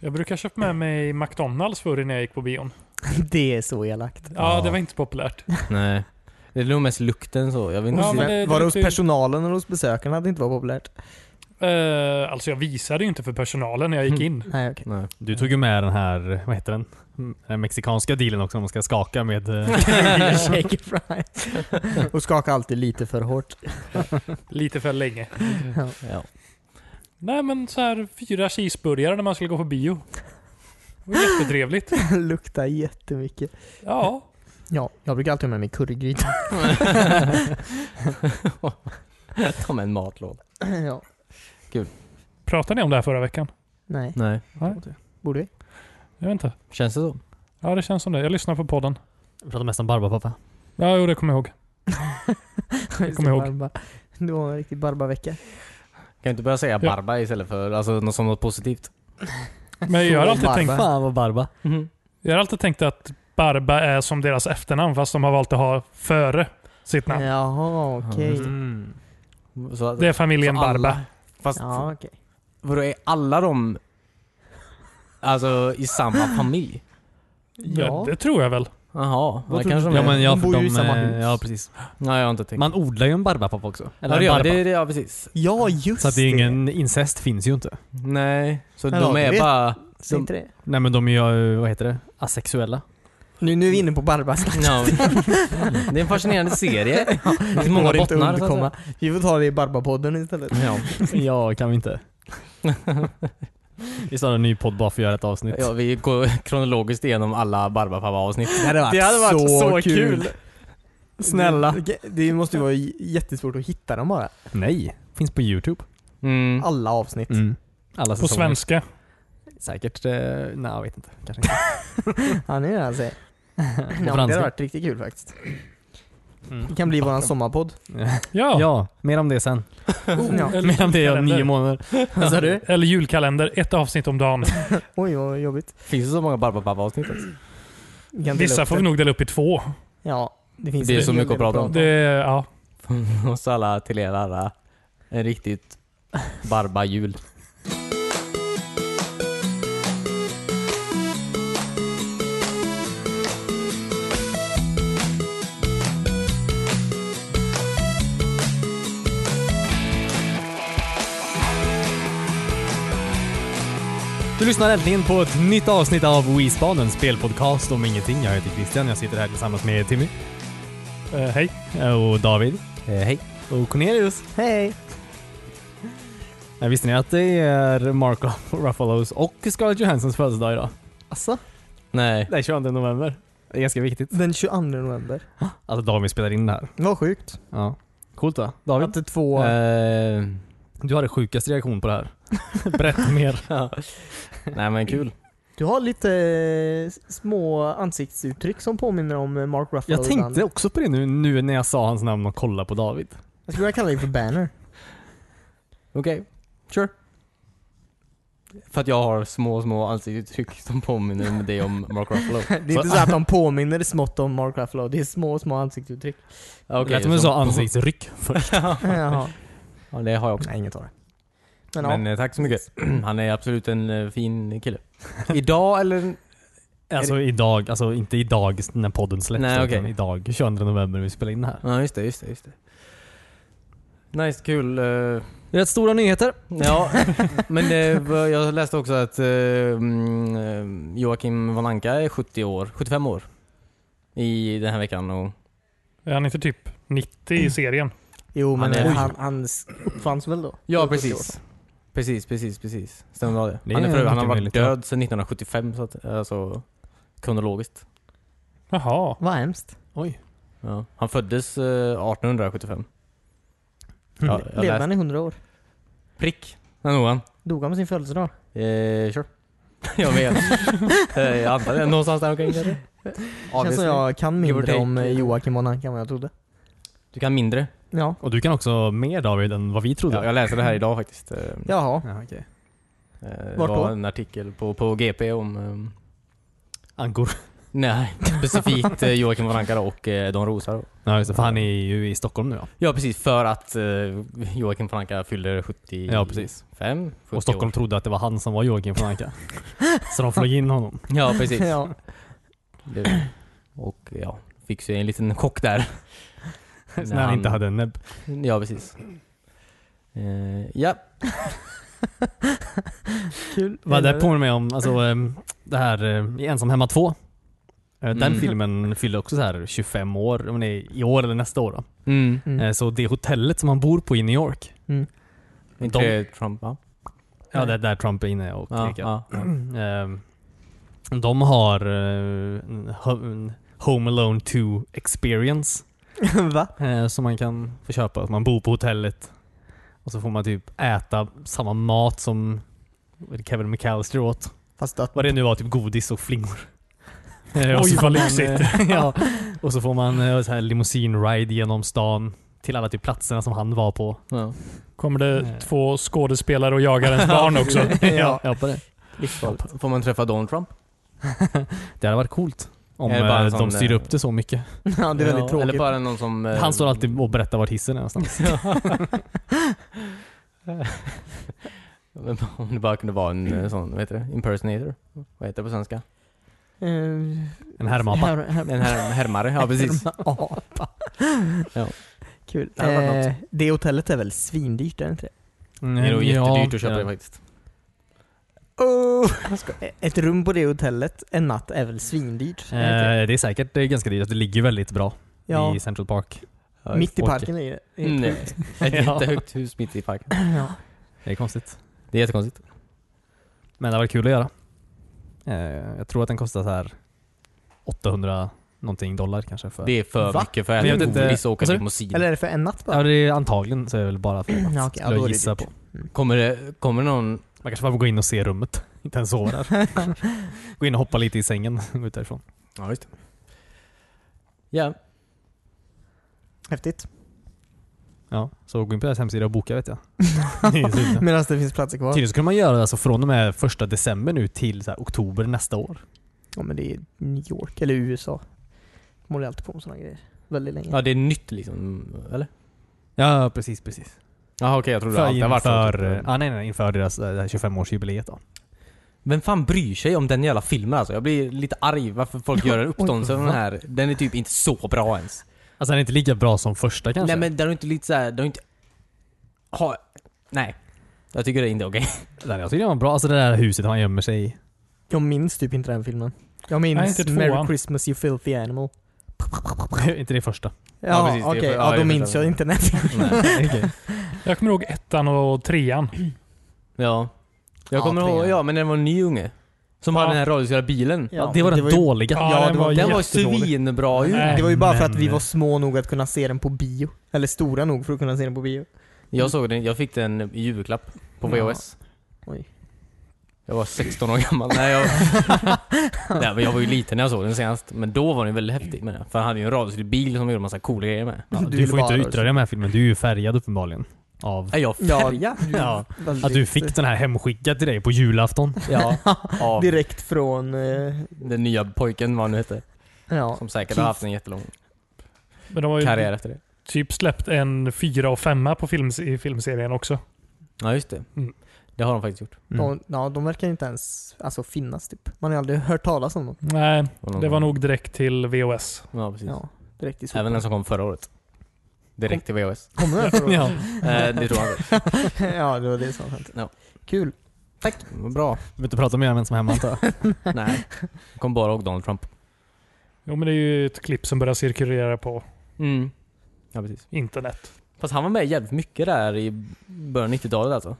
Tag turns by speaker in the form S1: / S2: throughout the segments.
S1: Jag brukar köpa med mig McDonalds förr när jag gick på bion.
S2: Det är så elakt.
S1: Ja,
S3: Ja.
S1: det var inte så populärt.
S3: Nej. Det är nog mest lukten så. Jag vet inte.
S1: Ja,
S3: så-
S1: men det-
S2: var det hos
S1: det-
S2: personalen eller hos besökarna det inte var populärt?
S1: Eh, alltså jag visade ju inte för personalen när jag gick in.
S2: Nej okej.
S3: Nej.
S4: Du tog ju med den här, vad heter den? Den mexikanska dealen också, om man ska skaka med... eh,
S2: Shaker fries. Och skaka alltid lite för hårt.
S1: Lite för länge.
S3: Ja.
S1: Nej men så här fyra cheeseburgare när man skulle gå på bio. Det var jättetrevligt.
S2: Luktar jättemycket.
S1: Ja.
S2: Ja, jag brukar alltid ha med mig currygryta.
S3: Ta med en matlåda.
S2: ja.
S1: Pratade ni om det här förra veckan?
S2: Nej.
S3: Nej.
S2: Borde vi?
S1: Jag vet inte.
S3: Känns det så?
S1: Ja det känns som det. Jag lyssnar på podden.
S4: Vi pratar mest om barbapapa.
S1: Ja jo det kommer jag ihåg.
S2: Jag
S1: kommer ihåg.
S2: Det var en riktig barbavecka.
S3: Kan du inte börja säga barba istället för alltså, något som något positivt?
S1: Men jag har
S2: Så
S1: alltid
S2: barba.
S1: tänkt,
S4: Fan vad barba.
S1: jag har alltid tänkt att Barba är som deras efternamn fast de har valt att ha före sitt namn.
S2: Jaha, okej.
S4: Mm.
S3: Ja, Så att,
S1: Det är familjen
S3: så alla-
S1: Barba.
S3: Fast
S2: Ja, okej.
S3: vadå, är alla de alltså, i samma familj?
S1: Ja.
S2: Ja.
S1: Det tror jag väl.
S3: Jaha,
S2: Vad
S3: det
S2: tror
S3: kanske
S2: du?
S3: de
S4: Ja
S3: är.
S4: men ja,
S2: De
S4: för
S2: bor ju
S4: de,
S2: i samma
S4: eh,
S2: hus.
S4: Ja precis.
S3: Nej, jag har inte tänkt.
S4: Man odlar ju en barbapapa också.
S3: Eller,
S4: en
S3: ja,
S4: barba.
S3: det, det, ja, precis.
S2: ja, just
S4: Så att det är ingen incest finns ju inte.
S3: Nej, så
S2: Men
S3: de
S2: ja,
S3: är
S2: vet-
S3: bara...
S2: Säg inte det.
S4: Nej men de är ju, eh, vad heter det? Asexuella.
S2: Nu, nu är vi inne på barba
S3: Ja. Det är en fascinerande serie. Det finns
S2: Det
S3: många
S2: går inte
S3: bottnar.
S2: att
S3: så att
S2: undkomma. Vi får ta det i Barbapodden istället.
S3: säga. Ja.
S4: ja, kan vi inte. vi startar en ny podd bara för att göra ett avsnitt.
S3: Ja, vi går kronologiskt igenom alla Barbapapa-avsnitt.
S2: Det hade varit,
S4: Snälla.
S2: Det- Det måste ju vara j- jättesvårt att hitta dem
S4: Mm.
S2: bara.
S4: Nej, finns på youtube.
S3: Mm.
S2: Alla avsnitt.
S4: Alla
S1: På
S4: säsonger.
S1: svenska.
S4: Säkert. Eh, nej, jag vet inte. Kanske inte.
S2: Ja, nu är han sig.
S4: På
S2: Ja, det hade
S4: franska.
S2: varit riktigt kul faktiskt.
S4: Mm.
S2: Det kan bli våran sommarpodd.
S1: Ja.
S4: Ja. mer om det sen.
S2: Ja.
S4: Mer om det om nio
S1: julkalender.
S4: månader.
S2: Vad sa du?
S1: Eller julkalender, ett avsnitt om dagen.
S2: Oj, vad jobbigt.
S3: Finns det så många Barbapapa-avsnitt? ens?
S2: Vi kan dela
S1: Vissa
S2: upp
S1: får
S2: det.
S1: vi nog dela upp i två.
S2: Ja, det finns
S3: Det är
S2: en
S3: så
S2: hel
S3: mycket
S2: del
S3: att prata om.
S1: Det, ja.
S3: Och så alla till er alla. En riktigt Barba-jul.
S4: Du lyssnar äntligen på ett nytt avsnitt av Wispan, en spelpodcast om ingenting. Jag heter Christian, jag sitter här tillsammans med Timmy.
S1: Eh, hej.
S4: Och David.
S3: hej.
S4: Och Cornelius.
S2: Hej!
S4: Nej, visste ni att det är Marco Ruffalos och Scarlett Johanssons födelsedag idag?
S2: Alltså,
S3: Nej.
S4: Den 22 november. Det är ganska viktigt.
S2: den 22 november.
S4: Alltså dagen vi spelar in det här.
S2: Vad sjukt.
S4: Ja. Coolt va? David?
S2: Att två...
S3: Eh,
S4: Du hade sjukast reaktion på det här. Berätta mer.
S3: ja. Nej men kul.
S2: Du har lite eh, små ansiktsuttryck som påminner om eh, Mark Ruffalo.
S4: Jag
S2: ibland.
S4: tänkte också på det nu, nu när jag sa hans namn och kollade på David.
S2: Jag skulle vilja kalla dig för Banner.
S3: Okej. Sure. För att jag har små, små ansiktsuttryck som påminner om det om Mark Ruffalo.
S2: Det är inte så att de påminner smått om Mark Ruffalo. Det är små, små ansiktsuttryck.
S4: Okay, Lät som du sa ansiktsryck först.
S2: Jaha.
S3: Ja, det har jag också.
S2: Nej, inget av det. Men,
S3: Men,
S2: ja.
S3: eh, tack så mycket. Han är absolut en eh, fin kille. Idag eller?
S4: Alltså idag, alltså inte idag när podden släpps.
S3: Nej,
S4: utan
S3: okej.
S4: Idag, 22 november, vi spelar in det här.
S3: Ja just det, just det, just det. Nice, kul. eh,
S4: Rätt stora nyheter.
S3: Ja, men det, var- jag läste också att eh, mm, eh, Joakim von Anka är 70 år, 75 år i den här veckan. Och,
S1: Är han inte typ 90 i serien?
S2: Jo, men
S3: Han är-
S2: han, han, s- uppfanns väl då?
S3: ja, precis. Precis, precis, precis. Stämmer bra det.
S4: Det
S3: Han, är
S4: är
S3: för, han har
S4: mycket
S3: varit
S4: möjligt, ja.
S3: död sedan 1975, så att, alltså kronologiskt.
S1: Jaha.
S2: Vad hemskt.
S4: Oj.
S3: Ja. Han föddes eh, 1875. Ja, jag
S2: Levde
S3: läste.
S2: han i hundra år?
S3: Prick, den nog han.
S2: Dog han på sin födelsedag?
S3: Eh, sure. jag vet. Eh, jag antar det. Någonstans där omkring kanske.
S2: Känns som
S3: Obviously.
S2: jag kan
S3: Give or
S2: mindre
S3: take.
S2: om eh, Joakim von Anka än vad jag trodde.
S3: Du kan mindre.
S2: Ja.
S4: Och du kan också mer David än vad vi trodde.
S3: Ja, jag läste det här idag faktiskt. Eh,
S2: Jaha.
S4: Ja, okej.
S3: Eh, Det
S2: Vart
S3: var
S2: då?
S3: en artikel på, på GP om... ehm,
S4: Ankor.
S3: Nej, specifikt eh, Joakim von Anka och eh, Don Rosa då.
S4: Ja, just det, för han är ju i Stockholm nu ja.
S3: Ja precis, för att eh, Joakim von Anka fyller 75?
S4: Ja, precis.
S3: 70
S4: Och Stockholm
S3: år.
S4: trodde att det var han som var Joakim von Anka. Så de flög in honom.
S3: Ja precis.
S2: Ja.
S3: Det- Och ja, fick sig en liten chock där.
S4: När han inte hade en näbb.
S3: Ja precis. Eh, ja,
S2: Kul.
S4: Vad det påminner mig om, alltså ehm, det här eh, i Ensam hemma 2. Eh, Den
S3: Mm.
S4: filmen fyller också så här 25 år, om det är i år eller nästa år då.
S3: mm.
S2: Mm.
S4: Eh, Så det hotellet som han bor på i New York,
S3: inte
S4: De-
S3: det Trump va?
S4: ja, det är där Trump är inne och
S3: Ja,
S4: knäcker.
S3: ja, ja.
S4: Ehm, De har eh, en ho- en Home Alone 2 experience
S2: Va?
S4: eh, som man kan få köpa. Att Man bor på hotellet och så får man typ äta samma mat som Kevin McAllister åt.
S2: Fast att...
S4: Vad det nu var, typ godis och flingor. Eh,
S1: Oj,
S4: så
S1: vad
S4: får man,
S1: lyxigt.
S4: eh, ja, och så får man eh, så här limousin-ride genom stan till alla typ platserna som han var på.
S3: ja.
S1: Kommer
S4: Nej.
S1: det två skådespelare och jagar ens barn också?
S4: ja. ja, på det.
S3: Livsfarligt. Får man träffa Don Trump?
S4: Det hade varit coolt om
S3: Är det bara en
S4: eh,
S3: sån,
S4: de styr
S3: eh,
S4: upp det så mycket.
S2: Ja, det är väldigt
S3: Ja,
S2: tråkigt.
S3: Eller bara någon som... eh,
S4: Han står alltid och berättar vart hissen är någonstans.
S3: Om det bara kunde vara en eh, sån, vad heter det? Impersonator? Vad heter det på svenska?
S2: Eh,
S4: En härmapa.
S2: här- här-
S3: En här, härmare, ja precis. Ja.
S2: Kul.
S3: Det hade varit
S2: Eh, det hotellet är väl svindyrt, är det inte det?
S4: Mm,
S3: Det är nog jättedyrt att
S4: ja.
S3: köpa det faktiskt. Oh.
S2: E- Ett rum på det hotellet en natt är väl svindyrt? är det inte det?
S4: Eh, Det är säkert det är ganska dyrt. Det ligger väldigt bra
S2: ja,
S4: i Central Park.
S2: mitt i
S3: Åker.
S2: parken är det. det. är
S3: Nej.
S2: sjukt.
S3: Ett
S4: Ja.
S3: jättehögt hus mitt i parken.
S2: Ja.
S4: Det är konstigt.
S3: Det är jättekonstigt.
S4: Men det var kul att göra. Eh, Jag tror att den kostar så här 800 någonting dollar kanske. För.
S3: Det är för
S2: Va?
S3: mycket för
S4: Men
S3: att
S4: jag
S3: jag
S4: vet inte-
S3: inte åka
S4: Alltså,
S3: limousin.
S2: Eller är det för en natt bara?
S4: Ja, det är antagligen så är det väl bara för att
S2: Ja, okej, ja,
S4: skulle
S2: då är
S4: jag
S2: det
S4: gissa
S2: dyrt.
S4: på.
S3: Kommer det, kommer någon...
S4: Man kanske bara får gå in och se rummet. Inte ens sova där. gå in och hoppa lite i sängen och gå ut därifrån.
S3: Ja, just Ja,
S2: Häftigt.
S4: Ja, så gå in på deras hemsida och boka vet jag. Det är tydligen.
S2: Medan det finns platser kvar.
S4: Tydligen så kan man göra det alltså från och med första december nu till så här oktober nästa år.
S2: Ja men det är New York, eller USA. De håller alltid på med sådana grejer. Väldigt länge.
S3: ja det är nytt liksom, eller?
S4: Ja, precis, precis.
S3: Jaha okej, jag trodde
S4: För
S3: allt har varit så.
S4: inför,
S1: typ,
S4: ah, nej, nej, inför deras eh, det här 25-årsjubileet då.
S3: Vem fan bryr sig om den jävla filmen alltså? Jag blir lite arg varför folk gör en uppståndelse av den här. Den är typ inte så bra ens.
S4: Alltså den är inte lika bra som första kanske.
S3: Nej men den är inte lite såhär, den är inte... Ha... Nej. Jag tycker det är inte okej.
S4: Nej, jag tycker den var bra. Alltså det där huset han gömmer sig i.
S2: Jag minns typ inte den filmen. Jag
S1: Nej,
S2: minns
S1: inte
S2: Merry
S1: tvåan.
S2: Christmas you filthy animal.
S4: inte det första.
S2: Ja,
S3: Ja, precis, det är
S2: okej.
S3: för- ja,
S2: ja,
S3: det
S2: då
S3: är
S2: minns
S3: första.
S2: jag inte den här filmen.
S4: Okej.
S1: Jag kommer ihåg ettan och trean.
S3: Ja. Jag
S2: Ja,
S3: kommer
S2: trean.
S3: ihåg, ja men den var en ny unge. Som
S1: Ja.
S3: hade den här radiostyrda bilen.
S2: Ja,
S4: det var
S2: men
S4: den
S2: ju-
S4: dåliga.
S1: Ja, den var
S3: Den var
S1: jättedålig.
S3: svinbra ju.
S1: Nej.
S2: Det var ju bara för att vi
S4: Men-
S2: var små nog att kunna se den på bio. Eller stora nog för att kunna se den på bio.
S3: Jag såg den, jag fick den i julklapp på
S2: Ja.
S3: VHS.
S2: Oj.
S3: Jag var 16 år gammal. Nej, jag... Nej men jag var ju liten när jag såg den senast. Men då var den väldigt häftig med den. För han hade ju en radiostyrd bil som gjorde massa coola grejer med.
S4: Ja,
S2: Du
S4: du
S2: ville
S4: får inte
S2: vara
S4: yttra dig om den här filmen. Du är ju färgad uppenbarligen. Av
S3: Är jag färgad?
S4: Ja.
S2: väldigt-
S4: att du fick den här hemskickad till dig på julafton.
S3: Ja. Av
S2: Direkt från... eh,
S3: den nya pojken, vad han nu hette.
S2: Ja.
S3: Som säkert
S2: Keith.
S3: har haft en jättelång
S1: Men de har ju
S3: karriär efter det.
S1: typ släppt en fyra och femma på films i filmserien också.
S3: Ja just det.
S1: Mm.
S3: Det har de faktiskt gjort.
S4: Mm.
S2: De, ja, de verkar ju inte ens alltså, finnas typ. Man har ju aldrig hört talas om dem.
S1: Nej,
S3: Och någon
S1: det var
S3: gång-
S1: nog direkt till VOS.
S3: Ja, precis.
S2: Ja, direkt i
S3: Även
S2: soporna.
S3: den som kom förra året. Direkt till VHS.
S2: Kommer den från?
S4: Ja.
S3: eh, det tror jag inte.
S2: ja, det var det som var skönt.
S3: Ja.
S2: Kul.
S3: Vad Bra.
S4: Vi behöver inte prata mer om vem som är hemma antar jag.
S3: Nej. Jag kom bara ihåg Donald Trump.
S1: Jo, men det är ju ett klipp som börjar cirkulera på
S3: Mm. Ja, precis.
S1: internet.
S3: Fast han var med jävligt mycket där i början av 90-talet alltså.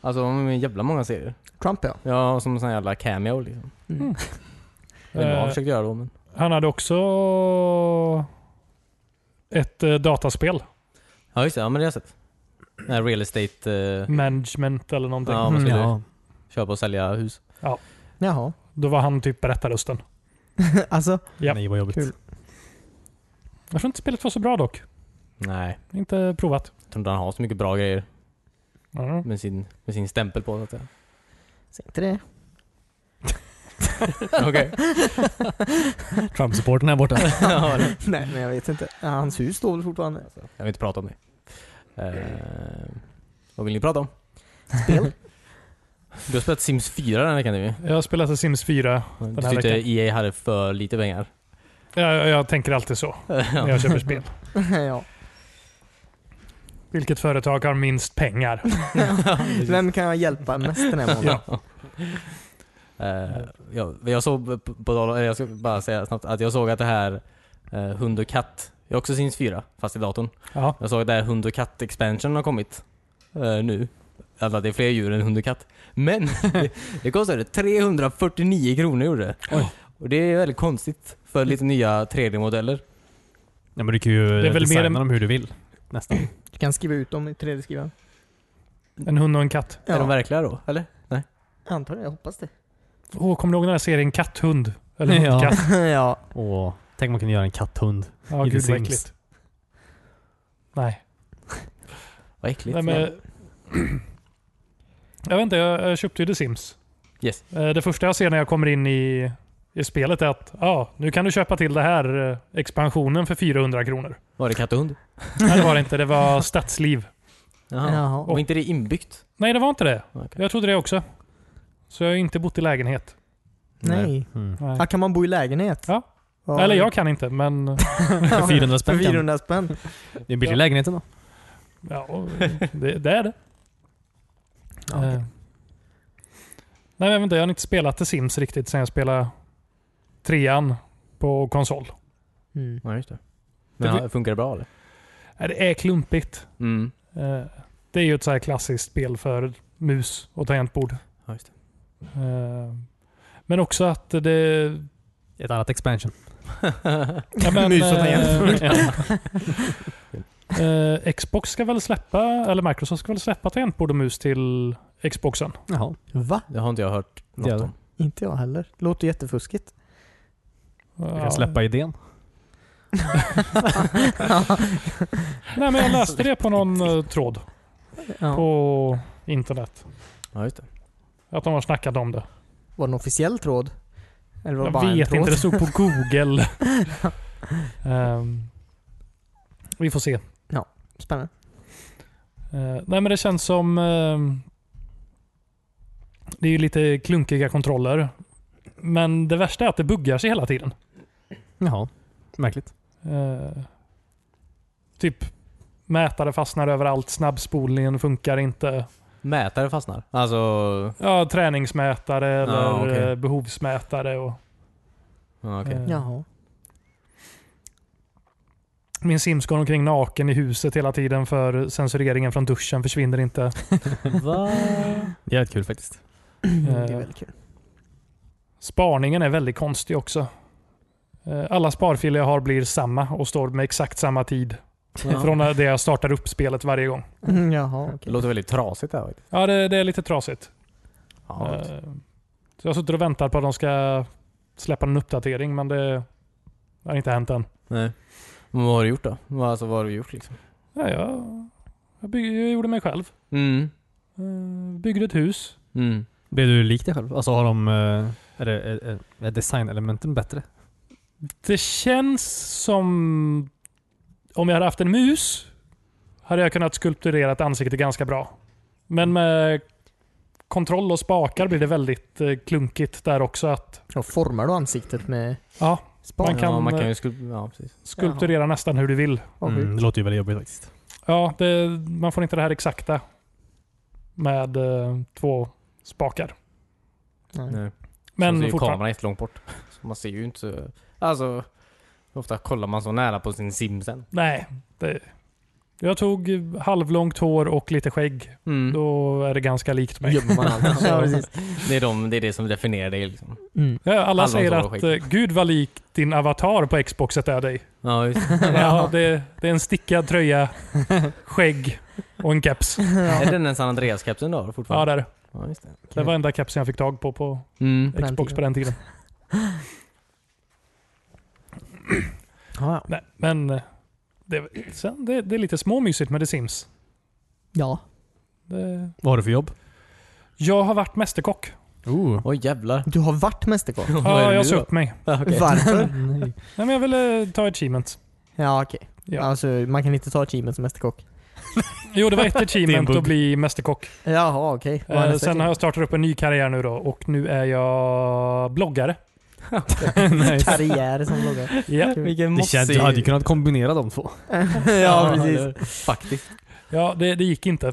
S3: Alltså han var med i jävla många serier.
S2: Trump ja.
S3: Ja, som en sån jävla cameo liksom.
S2: Mm.
S3: Jag vet inte vad han
S1: Eh,
S3: försökte göra då men.
S1: Han hade också ett eh, dataspel.
S3: Ja just det, ja men det har jag sett. Den här real estate, eh,
S1: Management eller någonting. Mm.
S3: Ja, men- skulle-
S4: ja.
S3: köpa och sälja hus.
S2: Jaha.
S1: Då var han typ berättarrösten.
S2: alltså,
S1: Ja.
S4: Nej vad jobbigt.
S2: Kul.
S1: Jag tror inte spelet var så bra dock.
S3: Nej,
S1: Inte provat.
S3: jag tror inte han har så mycket bra grejer
S1: Mm.
S3: med sin, med sin stämpel på så att säga.
S2: säg inte det.
S3: Okej.
S4: Trump-supporten här borta.
S3: Ja, det- Alltså.
S2: Nej, men jag vet inte. Ja, Hans hus står väl fortfarande?
S3: jag vill inte prata om det. Eh, vad vill ni prata om?
S2: Spel?
S3: Du har spelat Sims 4 den här veckan du.
S1: Jag har spelat Sims 4.
S3: Du
S1: Den här
S3: tyckte
S1: veckan.
S3: EA hade för lite pengar.
S1: Jag, jag tänker alltid så när jag köper spel.
S2: ja.
S1: Vilket företag har minst pengar?
S2: Vem kan jag hjälpa mest den här månaden?
S1: Ja.
S3: Eh, ja, jag såg, på, på, eller jag ska bara säga snabbt, att jag såg att det här eh, Hund och katt, jag har också Sims 4, fast i datorn.
S1: Ja.
S3: Jag såg att det här Hund och katt expansion har kommit eh, nu. Alltså att det är fler djur än hund och katt. Men det, det kostade 349 kronor gjorde det.
S1: Oj.
S3: Och det är väldigt konstigt för lite nya 3D-modeller.
S4: Ja, men du kan ju
S1: Det är väl mer
S4: designa
S1: en-
S4: dem hur du vill. Nästan.
S2: Du kan skriva ut dem i 3D-skrivaren.
S1: En hund och en katt.
S2: Ja,
S3: Är de verkliga då? Eller? Nej?
S2: antagligen. Jag hoppas det.
S1: Åh, kommer du ihåg den här serien Katthund? Eller hundkatt?
S2: ja.
S4: Åh, tänk om man kunde göra en katthund.
S1: Ja,
S4: I The
S1: gud vad
S4: Sims.
S1: äckligt. Nej.
S3: Vad äckligt.
S1: Nej men, jag vet inte, jag, jag köpte ju The Sims.
S3: Yes.
S1: Eh, Det första jag ser när jag kommer in i, i spelet är att ja, nu kan du köpa till det här eh, expansionen för 400 kronor.
S3: Var det katt och hund?
S1: Nej det var det inte, det var stadsliv.
S3: Jaha.
S2: Jaha.
S3: Och inte det inbyggt?
S1: Nej det var inte det.
S3: Okej.
S1: Jag trodde det också. Så jag har inte bott i lägenhet.
S2: Nej.
S4: Mm.
S1: Nej.
S2: Ah, kan man bo i lägenhet?
S1: Ja. Eller jag kan inte men
S2: Ja,
S4: 400
S2: För
S4: spänn. kan-
S2: 400 spänn.
S4: Det är billig lägenheten då.
S1: ja, det, det är det.
S4: Ja, okej.
S1: Eh. Nej, jag, vet inte, jag har inte spelat The Sims riktigt sen jag spelade trean på konsol.
S2: Mm.
S3: Ja, just det. Men
S1: Det-
S3: har- funkar det bra eller?
S1: Nej, Det är klumpigt.
S3: Mm.
S1: Eh, Det är ju ett så här klassiskt spel för mus och tangentbord.
S3: Ja, just det.
S1: Eh, Men också att det...
S4: Ett annat expansion.
S1: Ja, men,
S2: Mus och
S1: eh,
S2: tangentbord.
S1: eh, Xbox ska väl släppa, eller Microsoft ska väl släppa tangentbord och mus till Xboxen.
S4: Jaha.
S2: Va?
S3: Det har inte jag hört något
S4: Det är det.
S3: om.
S2: Inte jag heller. Låter jättefuskigt.
S4: Jag
S1: Ja.
S4: kan släppa idén.
S1: Eh, Nej, men jag läste det på någon eh, tråd
S2: Ja.
S1: på internet.
S3: Ja, just det.
S1: Att de har snackat om det.
S2: Var det en officiell tråd? Eller var det
S1: Jag
S2: bara en
S1: vet
S2: tråd?
S1: inte, det stod på Google. Ehm, vi får se.
S2: Spännande.
S1: Eh, nej men det känns som... ehm, det är ju lite klunkiga kontroller. Men det värsta är att det buggar sig hela tiden.
S4: Jaha. Märkligt.
S1: Eh, typ mätare fastnar överallt, snabbspolningen funkar inte.
S3: Mätare fastnar. Alltså...
S1: Ja, träningsmätare eller
S3: Ja, okej.
S1: eh, behovsmätare. Och,
S3: Ja, okej.
S1: eh,
S2: Mm. Jaha.
S1: Min Sims går omkring naken i huset hela tiden för censureringen från duschen försvinner inte.
S3: Va?
S4: Jävligt kul faktiskt.
S2: Det
S1: Eh.
S2: är väldigt kul.
S1: Sparningen är väldigt konstig också. Eh, Alla sparfiler jag har blir samma och står med exakt samma tid. Från när- det jag startar upp spelet varje gång.
S2: Mm, Jaha,
S3: Det
S2: okej.
S3: låter väldigt trasigt det här faktiskt.
S1: Ja, det, det är lite trasigt.
S3: Ja,
S1: Eh, Så jag sitter och väntar på att de ska släppa en uppdatering, men det har inte hänt än.
S3: Nej. Men vad har du gjort då? Vad- Alltså vad har du gjort liksom?
S1: Ja, jag, jag, bygg, jag gjorde mig själv.
S3: Mm.
S1: Eh, Byggde ett hus.
S3: Mm.
S4: Blev du lik dig själv? Alltså har de... eh, Är, det, är, är- är designelementen bättre?
S1: Det känns som... Om jag hade haft en mus hade jag kunnat skulpturera ett ansikte ganska bra. Men med kontroll och spakar blir det väldigt eh, klunkigt där också. att
S2: Då formar du ansiktet med
S1: ja,
S2: span?
S1: Man kan-
S3: ja, man kan ju skulp- Ja, precis.
S1: Skulpturera nästan hur du vill.
S2: Vad sjukt.
S1: Mm.
S4: Mm, det låter ju väldigt jobbigt faktiskt.
S1: Ja, det, Man får inte det här exakta med eh, två spakar.
S2: Nej.
S3: Nej. Men så är
S1: Men
S3: ju
S1: fortfarande.
S3: kameran jättelångt bort. Så man ser ju inte så... Alltså... Ofta kollar man så nära på sin sim sen.
S1: Nej. Det, jag tog halvlångt hår och lite skägg.
S3: Mm.
S1: Då är det ganska likt mig.
S2: Gömmer man allt. ja, precis.
S3: Det, är de, det är det som definierar dig liksom.
S2: Mm.
S1: Ja, alla
S3: Halvlångt
S1: säger
S3: hår och
S1: att
S3: skägg.
S1: eh, gud vad lik din avatar på Xboxet är dig.
S3: Ja, just det.
S1: Ja, det, det är en stickad tröja, skägg och en keps.
S3: Är den en San Andreas-kepsen då
S1: Ja,
S3: fortfarande?
S1: där.
S3: Ja, just det.
S1: Det var enda kepsen jag fick tag på på
S3: Mm.
S2: den
S1: Xbox på
S2: tiden.
S1: den tiden.
S2: Ja, ja.
S1: Nej, men eh, det, sen, det, det är lite småmysigt med The Sims.
S2: ja.
S1: Det,
S4: Vad har du för jobb?
S1: jag har varit mästerkock.
S4: Oh.
S3: Oj jävlar.
S2: Du har varit mästerkock?
S3: Vad är
S1: Ja,
S3: det nu
S1: jag sa
S3: då?
S1: upp mig.
S3: Ja, okej.
S2: Varför?
S4: Nej.
S1: Nej, men jag ville ta achievement.
S2: Ja, okej.
S1: Ja.
S2: Alltså, man kan inte ta teamet som mästerkock.
S1: Jo, det var ett achievement
S4: bugg.
S1: att bli mästerkock.
S2: Jaha, okej. Vad är
S1: Eh,
S2: nästa
S1: sen
S2: team?
S1: har jag startat upp en ny karriär nu då och nu är jag bloggare.
S4: nice.
S2: Karriär som bloggare.
S1: Ja,
S3: Vilken
S4: Det känns, du hade ju kunnat kombinera de två.
S2: ja, precis.
S3: det- Faktiskt.
S1: ja det, det gick inte.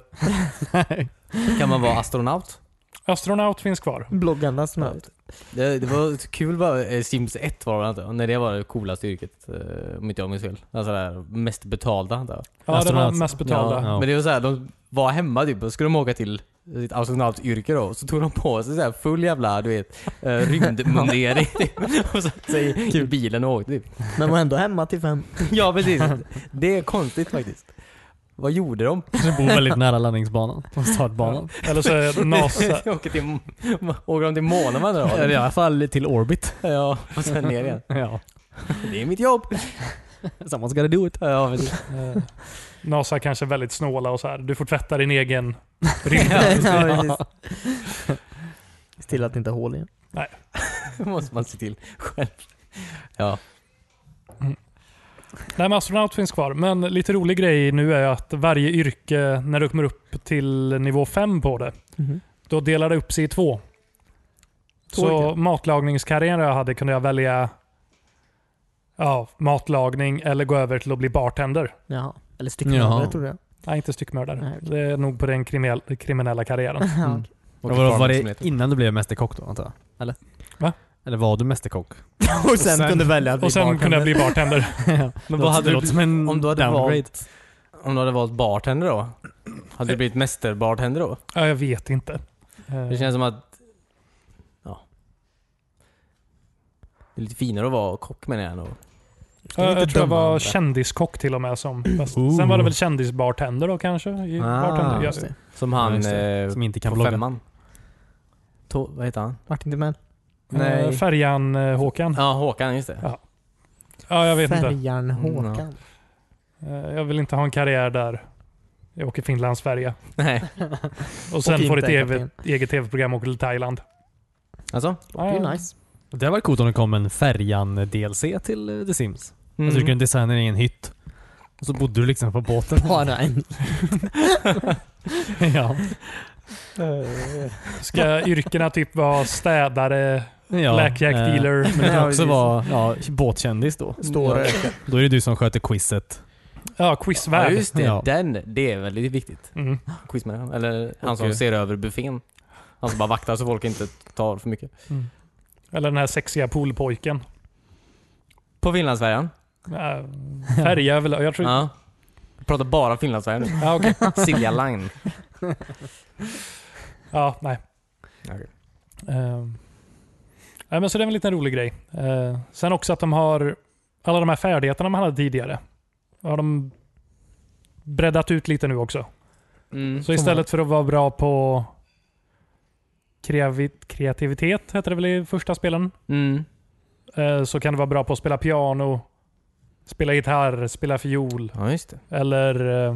S3: Kan man vara astronaut?
S1: Astronaut finns kvar.
S2: Bloggarna snabbt.
S3: Det, det var ett kul bara, eh, Sims 1 var det inte? När det var det coolaste yrket, eh, om inte jag minns fel. Alltså det här mest betalda antar jag.
S1: Ja, det var
S4: Astronaut.
S1: mest betalda.
S4: Ja.
S3: Men det var så här, de var hemma typ och skulle de åka till sitt astronautyrke då. Så tog de på sig så här full jävla du vet, eh, rymdmundering typ. Och satte sig i bilen och åkte typ.
S2: Men var ändå hemma till fem.
S3: Ja precis. Det är konstigt faktiskt. Vad gjorde de?
S4: Du bor väldigt nära landningsbanan. Och startbanan.
S1: Eller så är det NASA.
S3: åker, till, åker de till månen med andra
S4: Eller i
S3: ord?
S4: alla fall till Orbit.
S3: Ja, och sen ner igen.
S4: Ja.
S3: Det är mitt jobb.
S4: Someone's gotta do it.
S3: Ja, precis.
S1: Eh, NASA kanske är väldigt snåla och så här. Du får tvätta din egen rymd.
S2: ja, precis. Till att det inte är hål igen.
S3: Det måste man se till själv. Ja.
S1: Nej, men astronaut finns kvar. Men lite rolig grej nu är att varje yrke, när du kommer upp till nivå 5 på det,
S2: Mhm.
S1: då delar det upp sig i två.
S2: Två
S1: Så matlagningskarriär jag hade kunde jag välja ja, matlagning eller gå över till att bli bartender.
S2: Jaha. Eller
S4: Jaha.
S2: styckmördare tror jag.
S1: Nej, inte styckmördare.
S2: Nej, okej.
S1: Det är nog på den kriminell- kriminella karriären.
S2: Ja, okej.
S4: Och var, var det innan du blev mästerkock då antar jag? Eller?
S1: Va?
S4: Eller var du mästerkock?
S2: Och sen,
S4: sen-
S2: kunde välja att bli
S1: Och sen kunde
S2: bartender.
S1: jag bli bartender.
S4: Men
S3: vad hade du-
S4: som en
S3: om du hade
S4: downgrade.
S3: valt- Om du hade valt bartender då? Hade du blivit mästerbartender då?
S1: Ja, jag vet inte.
S2: Eh,
S1: Eh,
S3: Det känns som att... Ja. Det är lite finare att vara kock menar jag ändå.
S1: Ja, jag
S2: Inte
S1: tror jag
S2: döma
S1: var
S2: andra.
S1: kändiskock till och med som bäst.
S4: Ooh.
S1: Sen var det väl kändisbartender då kanske? I eh,
S3: Ah,
S1: bartender.
S2: Just
S1: Ja.
S2: det.
S3: Som
S4: Ja,
S3: han
S4: just det.
S3: eh,
S4: Som inte kan
S3: på
S4: blogga. Mm.
S3: femman. To, vad heter han?
S2: Martin Timell.
S3: Nej.
S1: Eh, Färjan-Håkan.
S3: Ja, Håkan, just det.
S1: Ja. Ja, jag vet inte.
S2: Färjan Håkan.
S3: Mm,
S1: Eh, Jag vill inte ha en karriär där jag åker Finland-Sverige
S3: Nej.
S1: och sen
S2: Och
S1: får ett
S2: inte är
S1: eget, eget tv-program och åker till Thailand.
S3: Alltså?
S2: Det är ju nice.
S4: Det hade varit coolt om det kom en Färjan-DLC till eh, The Sims.
S3: Mm.
S4: Alltså du kunde designa dig i en hytt. Och så bodde du liksom på båten.
S2: Bara en.
S4: ja.
S1: Ska yrkena typ vara städare,
S4: ja.
S1: blackjack
S4: eh,
S1: dealer?
S4: Men du
S2: Ja,
S4: kan också
S2: precis.
S4: vara ja, båtkändis då.
S2: Står
S3: Ja.
S4: Då är det du som sköter quizet.
S1: Ja,
S3: Ja,
S1: quizvärd.
S3: just det.
S4: Ja.
S3: Den. Det är väldigt viktigt.
S1: Mm.
S3: Quizman. Eller han som
S4: Okej.
S3: ser över buffén. Han som bara vaktar så folk inte tar för mycket.
S1: Eller den här sexiga poolpojken.
S3: På Finlandsfärjan.
S1: Eh, Färja väl? Jag tror...
S3: Ja. Jag pratar bara Finlandsfärjan nu.
S1: Ja, okej.
S3: Silja Line.
S1: ja, nej. Eh, nej, men så det är väl en liten rolig grej. Eh, sen också att de har alla de här färdigheterna man hade tidigare. Har de breddat ut lite nu också.
S3: Mm.
S1: Så istället för att vara bra på kreavi- kreativitet, hette det väl i första spelen,
S3: Mm.
S1: eh, så kan du vara bra på att spela piano, spela gitarr, spela fiol
S3: Ja, just det.
S1: eller eh,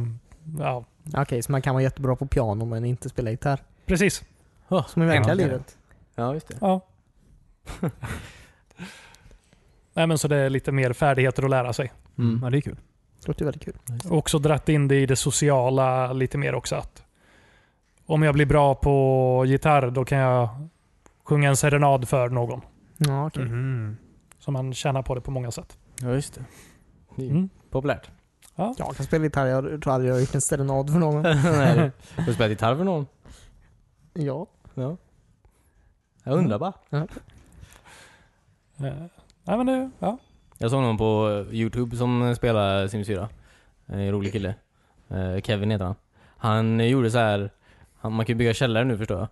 S1: ja,
S2: Okej, så man kan vara jättebra på piano men inte spela gitarr.
S1: precis.
S2: Som i verkliga
S3: Äntligen.
S2: livet.
S3: Ja, just det.
S1: Ja. Nej, men så det är lite mer färdigheter att lära sig.
S3: Mm.
S4: Ja, det är kul.
S2: Låter ju väldigt kul.
S1: också dratt in det i det sociala lite mer också. Att om jag blir bra på gitarr då kan jag sjunga en serenad för någon.
S2: Ja, okej.
S1: Mm. Så man tjänar på det på många sätt.
S3: Ja, just det. det är
S1: Mm.
S3: Populärt.
S2: Jag kan spela gitarr. Jag tror aldrig jag har gjort en serenad för någon.
S3: Nej, du- Har du spelat gitarr för någon?
S2: Ja.
S3: Ja. Jag undrar bara.
S1: Eh, nej, men det, ja.
S3: Jag såg någon på eh, youtube som spelar Sims 4. En rolig kille. Eh, Kevin heter han. Han eh, gjorde så här. Han, man kan ju bygga källare nu förstår jag.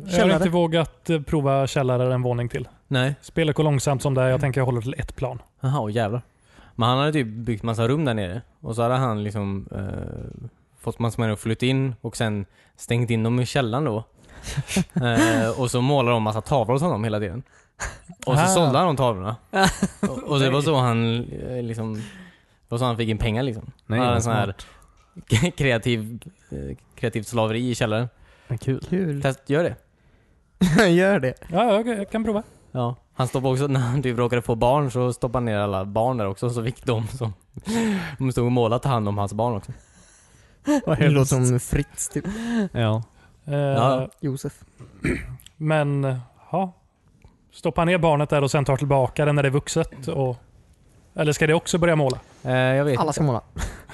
S1: Jag har
S2: Källare.
S1: inte vågat eh, prova källare en våning till.
S3: Nej.
S1: Spelet går långsamt som det är.
S3: Mm.
S1: Jag tänker jag håller till ett plan.
S3: Jaha, åh jävlar. Men han hade typ byggt massa rum där nere. Och så hade han liksom eh, fått massor med att flytta in och sen stängt in dem i källaren då. eh, och så målade de massa tavlor åt honom hela tiden. Och så
S1: Ah.
S3: sålde han de tavlorna. och, och det var så han eh, liksom... Det var så han fick in pengar liksom.
S4: Nej,
S3: han hade
S4: vad
S3: en sån här kreativ, eh, kreativt slaveri i källaren.
S4: Men kul.
S2: Kul.
S3: Test, gör det.
S2: Gör det.
S1: Ja, jag, jag kan prova.
S3: Ja. Han stoppade också, när han typ råkade få barn så stoppade han ner alla barn där också, så fick de som de stod och målade ta hand om hans barn också.
S4: Vad
S2: Det
S4: hemskt.
S2: låter som Fritz typ.
S4: Ja.
S1: Eh,
S3: Ja.
S2: Josef.
S1: Men, ja. Stoppa ner barnet där och sen tar tillbaka det när det är vuxet? Och, eller ska det också börja måla?
S3: Eh, jag vet
S2: Alla ska måla.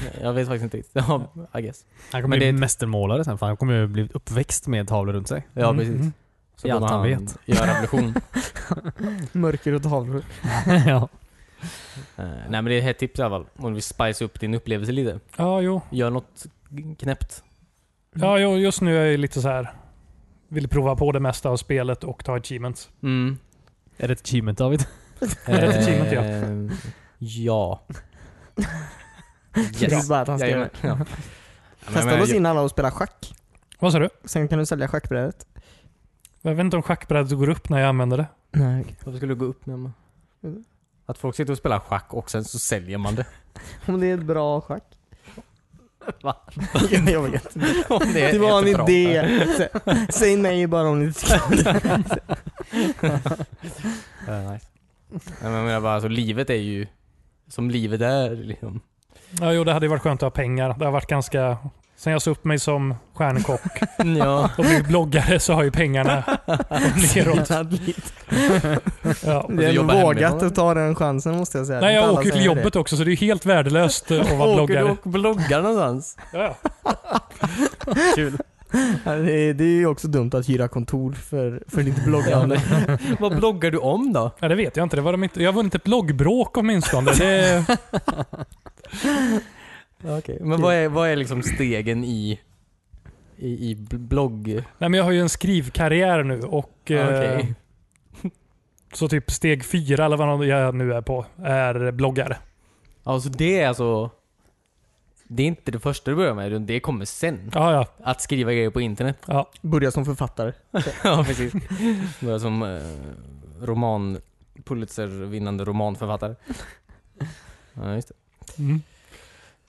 S3: inte. Jag vet faktiskt inte riktigt. Ja, I guess.
S4: Han kommer
S3: Men
S4: bli
S3: det-
S4: mästermålare sen för han kommer ju bli uppväxt med tavlor runt sig.
S3: Ja,
S1: Mm,
S3: precis.
S1: mm.
S3: Så
S4: I allt
S3: borde
S4: han
S3: han
S4: vet.
S3: göra revolution.
S2: Mörker och tavlor.
S4: ja.
S3: Eh, nej men det är ett hett tips i alla fall. Om du vill spice upp din upplevelse lite.
S1: Ja, jo.
S3: Gör något knäppt.
S1: Ja, jo, just nu är jag ju lite så här. Vill prova på det mesta av spelet och ta achievements.
S3: Mm.
S4: Är det ett achievement David?
S1: Är det ett achievement, ja?
S3: Eh, Ja.
S2: Det
S3: Yes.
S2: är bara att han ska
S3: Jajamän,
S2: göra.
S3: Ja.
S2: Testa lås in alla och spela schack.
S1: Vad sa du?
S2: Sen kan du sälja schackbrädet.
S1: Jag vet inte om schackbrädet går upp när jag använder det.
S2: Nej, okej.
S3: Varför skulle du gå upp med mig?
S2: Mm.
S3: Att folk sitter och spelar schack och sen så säljer man det.
S2: Om det är ett bra schack.
S3: Va?
S2: jag vet inte.
S3: Om är
S2: Det var en
S3: jättebra.
S2: idé. Sä- Säg nej bara om ni inte ska.
S3: Eh, nice. Nej, men jag menar bara, alltså, livet är ju som livet är. Liksom.
S1: Ja, jo, det hade ju varit skönt att ha pengar. Det har varit ganska... Sen jag sa upp mig som stjärnkock
S3: Ja.
S1: och blivit bloggare så har ju pengarna gått neråt. Ja.
S3: du
S2: Det är
S3: jobbar
S2: vågat
S3: hemifrån.
S2: att ta den chansen måste jag säga.
S1: Nej,
S2: Inte
S1: jag
S2: alla
S1: åker ju till
S2: säger det.
S1: jobbet också så det är ju helt värdelöst eh, att vara
S3: Åker du
S1: bloggare.
S3: och bloggar någonstans?
S1: Ja.
S4: Kul.
S2: Ja, Det är, det är ju också dumt att hyra kontor för, för ditt bloggande.
S3: Vad bloggar du om då?
S1: ja, det vet jag inte. Det var de inte. Jag har vunnit ett bloggbråk åtminstone. Det,
S3: Men vad är, vad är liksom stegen i, i, i blogg?
S1: nej, men jag har ju en skrivkarriär nu och eh,
S3: Okej.
S1: så typ steg fyra eller vad jag nu är på är bloggare.
S3: Ja, så det är alltså... Det är inte det första du börjar med, utan det kommer sen.
S1: Ja, ja.
S3: Att skriva grejer på internet.
S1: ja.
S2: Börja som författare.
S3: ja, precis. Börja som eh, roman... Pulitzer-vinnande romanförfattare. Ja, just det.
S1: Mm.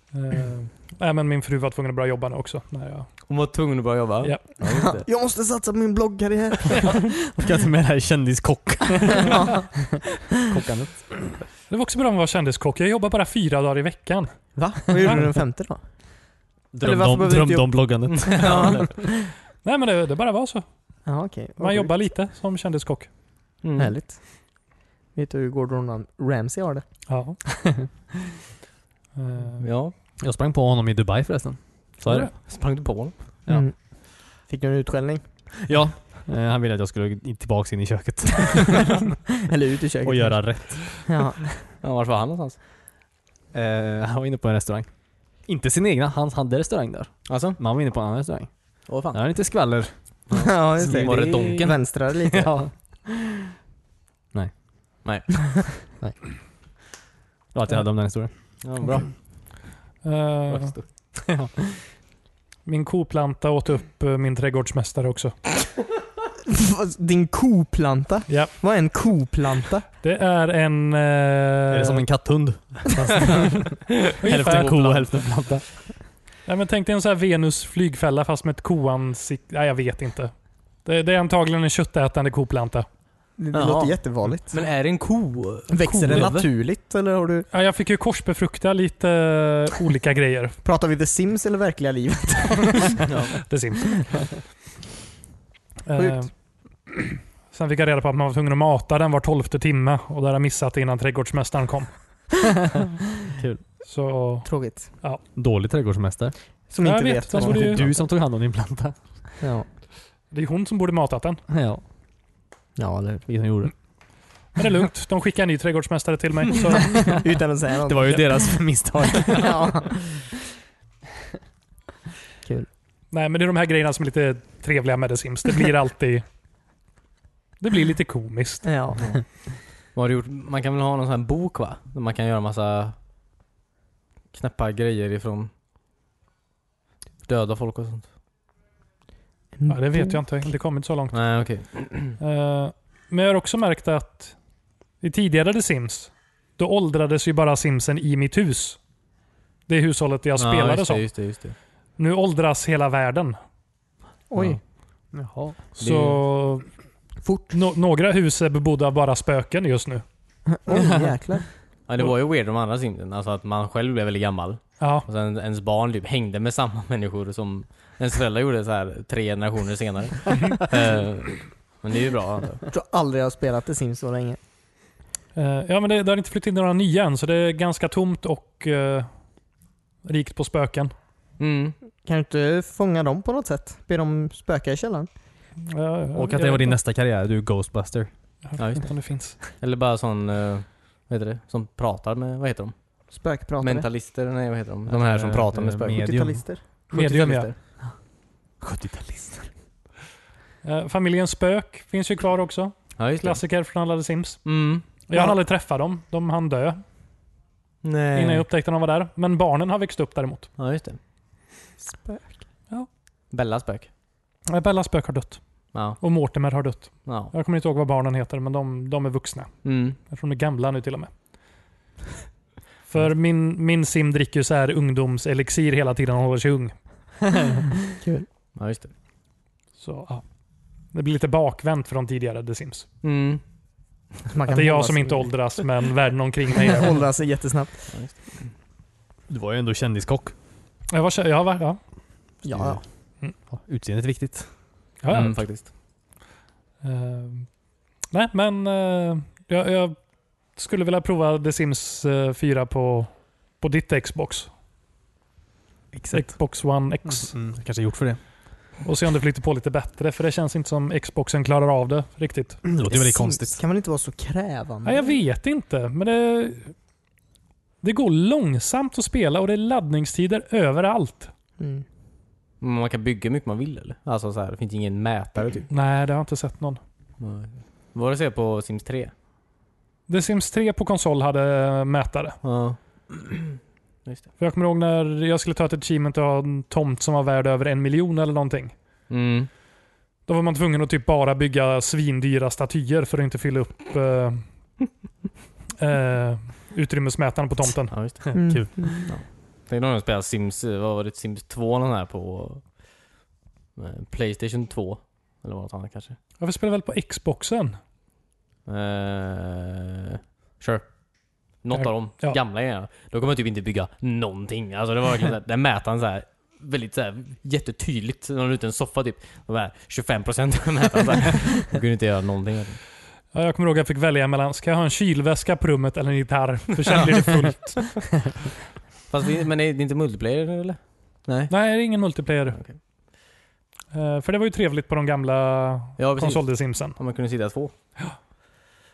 S1: Eh, nej, men min fru var tvungen att börja jobba nu också. När jag,
S3: Hon var tvungen att börja jobba.
S1: Ja.
S3: ja just det.
S2: Jag måste satsa på min bloggkarriär.
S4: Ska inte med det här kändiskock. Kockandet.
S1: det var också bra med att vara kändiskock. Jag jobbar bara fyra dagar i veckan.
S2: Va? Vad gjorde du den femte då? Eller
S4: Drömde
S2: varför
S4: om,
S2: behöver du inte
S4: drömde om
S3: Mm.
S4: bloggandet.
S3: Ja.
S1: Nej, men det, det bara var så.
S2: Ja, okej. Vad
S1: Man
S2: sjukt.
S1: jobbar lite som kändiskock.
S3: Mm.
S2: Härligt. Vet du hur Gordon Ram- Ramsay har det?
S1: Ja. Eh,
S3: Ja.
S4: Jag sprang på honom i Dubai förresten. Sa jag det?
S3: Sprang du på honom?
S4: Ja.
S2: Mm. Fick du en utskällning?
S4: Ja. Eh, Han ville att jag skulle in- tillbaks in i köket
S2: Eller ut i köket?
S4: och göra rätt.
S2: Ja.
S3: Ja, vart var han någonstans?
S4: Eh, Han var inne på en restaurang. Inte sin egna, han hade restaurang där.
S3: Alltså?
S4: Men han var inne på en annan restaurang.
S3: Åh fan.
S4: Det är lite skvaller.
S2: ja, just det.
S3: Var det Donken?
S2: Vänstrar lite.
S4: Ja. Nej.
S3: Nej.
S4: Nej. Det var allt jag hade om den historien.
S3: Ja, bra.
S1: Mm. eh,
S3: Bra historia.
S1: min koplanta åt upp eh, min trädgårdsmästare också.
S2: Din koplanta?
S1: Ja.
S2: Vad är en koplanta?
S1: Det är en... eh,
S4: Är det som en katthund?
S1: ungefär-
S4: Eh, Hälften ko och hälften planta.
S1: Nej, men tänk dig en sån här Venus flygfälla fast med ett koansikte. Nej, jag vet inte. Det, det är antagligen en köttätande koplanta.
S2: Det, det
S3: Jaha.
S2: låter jättevanligt.
S3: Men är det en ko?
S2: Växer den
S3: Kolöver?
S2: naturligt eller har du...
S1: Ja, jag fick ju korsbefrukta lite eh, olika grejer.
S2: Pratar vi The Sims eller verkliga livet?
S1: Det Sims. Eh,
S2: Sjukt.
S1: sen fick jag reda på att man var tvungen att mata den var tolfte timme och där har jag missat det innan trädgårdsmästaren kom.
S4: Kul.
S1: Så
S2: Tråkigt.
S4: Dålig trädgårdsmästare.
S2: Som
S1: Ja,
S2: inte
S1: jag
S2: vet,
S1: vet.
S2: vad
S1: Jag
S2: man
S1: borde
S4: Det
S1: ju-
S4: är du som tog hand om din planta.
S2: Ja.
S1: det är hon som borde matat den.
S4: Ja.
S2: ja, eller hur.
S4: Vilket de gjorde.
S1: Men det är lugnt. De skickar en ny trädgårdsmästare till mig. Så,
S2: Utan att säga något.
S4: Det var ju deras misstag.
S2: ja.
S1: nej, men det är de här grejerna som är lite trevliga med The Sims. Det blir alltid... Det blir lite komiskt.
S2: ja.
S3: Vad har du gjort? Man kan väl ha någon sån här bok va? Där man kan göra massa knäppa grejer ifrån Typ döda folk och sånt.
S1: Ja,
S2: Mm.
S1: det vet jag inte. Jag har inte kommit så långt.
S3: Nej okej.
S1: Eh, men jag har också märkt att i tidigare The Sims, då åldrades ju bara Simsen i mitt hus. Det hushållet jag
S3: ja,
S1: spelade
S3: just det,
S1: som.
S3: just det, just det.
S1: Nu åldras hela världen.
S2: Oj.
S4: Jaha.
S1: Så
S5: fort.
S1: Nå- några hus är bebodda av bara spöken just nu.
S2: Oj, jäklar.
S3: Ja, det var ju weird de andra simsen. Alltså att man själv blev väldigt gammal.
S1: Ja.
S3: Och sen ens barn typ hängde med samma människor som ens föräldrar gjorde så här tre generationer senare. Eh, Men det är ju bra. alltså. antar jag.
S2: Jag tror aldrig jag har spelat The Sims så länge.
S1: Eh, ja, men det, det har inte flyttat in några nya än, så det är ganska tomt och eh, rikt på spöken.
S3: Mm.
S2: Kan du inte fånga dem på något sätt? Be dem spöka i källaren?
S1: Ja, ja,
S4: Och
S1: jag
S4: att
S1: vet
S4: det var din
S1: inte-
S4: nästa karriär, du är Ghostbuster.
S1: Jag
S3: Ja,
S1: vet
S3: just
S1: inte om det finns.
S3: Eller bara sån, eh, vad heter det? Som pratar med, vad heter de?
S2: Spökpratare?
S3: Mentalister? Nej vad heter de? Eh, De här som pratar med spöken.
S4: Medium.
S2: 70-talister?
S1: Medium, ja.
S3: 70-talister.
S4: 70-talist.
S1: Eh, familjen Spök finns ju kvar också.
S3: Ja just det.
S1: Klassiker från alla The Sims.
S3: Mm.
S1: Jag hann
S2: Ja.
S1: aldrig träffa dem. De hann dö
S3: Nej.
S1: innan jag upptäckte att de var där. Men barnen har växt upp däremot.
S3: Ja just det.
S2: Spök.
S3: Bella spök.
S1: Eh, Bellas spök har dött.
S3: Ja.
S1: Och Mortimer har dött.
S3: ja.
S1: Jag kommer inte ihåg vad barnen heter, men de, de är vuxna.
S3: Mm.
S1: Jag tror de är gamla nu till och med. För min, min sim dricker ju så här ungdomselixir hela tiden och håller sig ung.
S3: Ja just det.
S1: Så, ja. Det blir lite bakvänt från tidigare The Sims.
S3: Mm.
S2: Man
S1: Att det är jag som inte åldras, men världen omkring mig gör det.
S2: åldras sig jättesnabbt.
S4: Du var ju ändå kändiskock.
S1: jag var, jag var, ja.
S4: Mm.
S2: Ja.
S4: Ja, Utseendet är viktigt.
S1: Ja, ja.
S3: Mm, faktiskt.
S1: Eh, nej, men eh, jag, jag skulle vilja prova The Sims eh, 4 på, på ditt Xbox. Xbox One X.
S4: Mm, jag kanske är gjort för det.
S1: Och se om det flyter på lite bättre, för det känns inte som Xboxen klarar av det riktigt.
S4: Mm, Det låter väldigt
S2: Sims
S4: konstigt.
S2: kan man inte vara så krävande?
S1: Nej, jag vet inte, men det, det går långsamt att spela och det är laddningstider överallt.
S2: Mm.
S3: Men man kan bygga hur mycket man vill eller? Alltså så här, det finns ingen mätare typ.
S1: Nej, det har jag inte sett någon. Mm.
S3: Nej. Vad du ser på Sims 3?
S1: The Sims 3 på konsol hade eh, mätare.
S3: Ja. Just det.
S1: För jag kommer ihåg när jag skulle ta ett achievement och ha en tomt som var värd över en miljon eller någonting.
S3: Mm.
S1: Då var man tvungen att typ bara bygga svindyra statyer för att inte fylla upp eh, eh, utrymmesmätaren på tomten.
S3: Ja, just det.
S2: Mm.
S4: Kul.
S3: Tänk om jag spelar Sims, eh, vad var det, Sims 2 någon här på eh, Playstation 2? Eller var det något annat kanske?
S1: Varför spelar väl på Xboxen?
S3: Eh, sure. Något
S1: Ja.
S3: av de
S1: Ja.
S3: gamla grejerna. Då kommer jag typ inte bygga någonting. Alltså det var verkligen såhär, den mätaren såhär väldigt såhär jättetydligt. När man är ute i en soffa typ. De här 25% av mätaren såhär. Man kunde inte göra någonting.
S1: Ja, jag kommer ihåg att jag fick välja mellan, ska jag ha en kylväska på rummet eller en gitarr? För sen blir det fullt.
S3: Fast det, men är det inte multiplayer eller? Nej.
S1: Nej, det är ingen multiplayer.
S3: Okej.
S1: Eh, för det var ju trevligt på de gamla
S3: Ja precis.
S1: konsol-simsen.
S3: Om man kunde sitta två.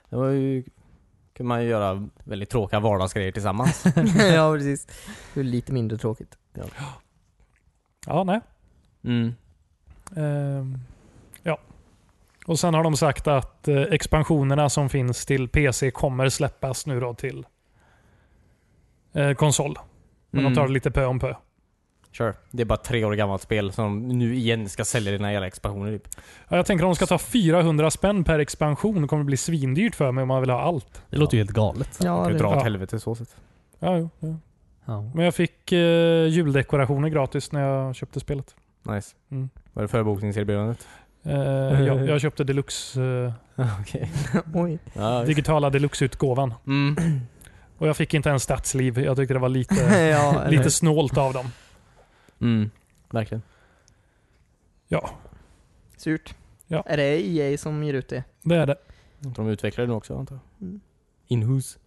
S3: Det var ju... Kunde man ju göra väldigt tråkiga vardagsgrejer tillsammans.
S2: ja, precis. Det är lite mindre tråkigt.
S1: Ja, nej.
S3: Mm.
S1: Eh, ja. Och sen har de sagt att eh, expansionerna som finns till PC kommer släppas nu då till eh, konsol. Men de tar det lite pö om pö.
S3: Mm. Sure. Det är bara tre år gammalt spel som nu igen ska sälja dina jävla expansioner typ.
S1: Ja, jag tänker om de ska ta 400 spänn per expansion det kommer det bli svindyrt för mig om man vill ha allt.
S4: Det låter ju helt galet.
S3: Man
S2: Ja,
S3: kan ju
S2: det,
S3: dra åt
S1: Ja.
S3: helvete så sett.
S1: Ja, jo, ja.
S4: Ja.
S1: Men jag fick eh, juldekorationer gratis när jag köpte spelet.
S3: Nice.
S1: Mm.
S3: Var det förbokningserbjudandet?
S1: Eh, jag, jag köpte deluxe, eh,
S3: Okej.
S2: oj.
S3: Ja, visst.
S1: digitala deluxe-utgåvan.
S3: mm.
S1: Och jag fick inte ens stadsliv. Jag tyckte det var lite,
S2: ja,
S1: lite snålt av dem.
S3: mm. Verkligen.
S2: Surt.
S1: Ja.
S2: Är det
S1: E
S2: EA som ger ut det?
S1: Det är det.
S3: Jag tror de utvecklar det nu också antar jag.
S2: Mm.
S3: Inhus.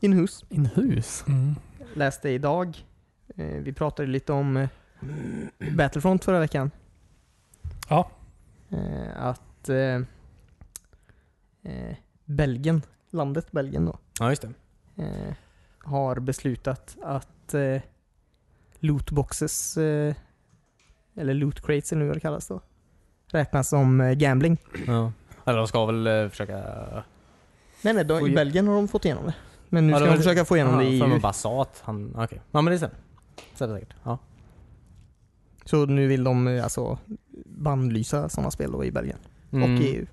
S2: Inhus.
S4: Inhus?
S2: Läste idag. Eh, Vi pratade lite om eh, Battlefront förra veckan.
S1: Ja.
S2: Eh, Att eh, eh, Belgien, landet Belgien då,
S3: Ja just det.
S2: eh, har beslutat att eh, lootboxes, eh, eller loot crates eller vad det kallas då, räknas som eh, gambling.
S3: Ja. Eller de ska väl eh, försöka...
S2: Nej, nej, då,
S3: Oj.
S2: i Belgien har de fått igenom det. Men nu
S3: Ja, det
S2: ska
S3: var
S2: de
S3: det-
S2: försöka få igenom det i
S3: för
S2: EU.
S3: med Basat. Han... Okej. Ja men det stämmer. Stämmer säkert. Ja.
S2: Så nu vill de eh, alltså bannlysa sådana spel då i Belgien och E i EU.
S3: Mm.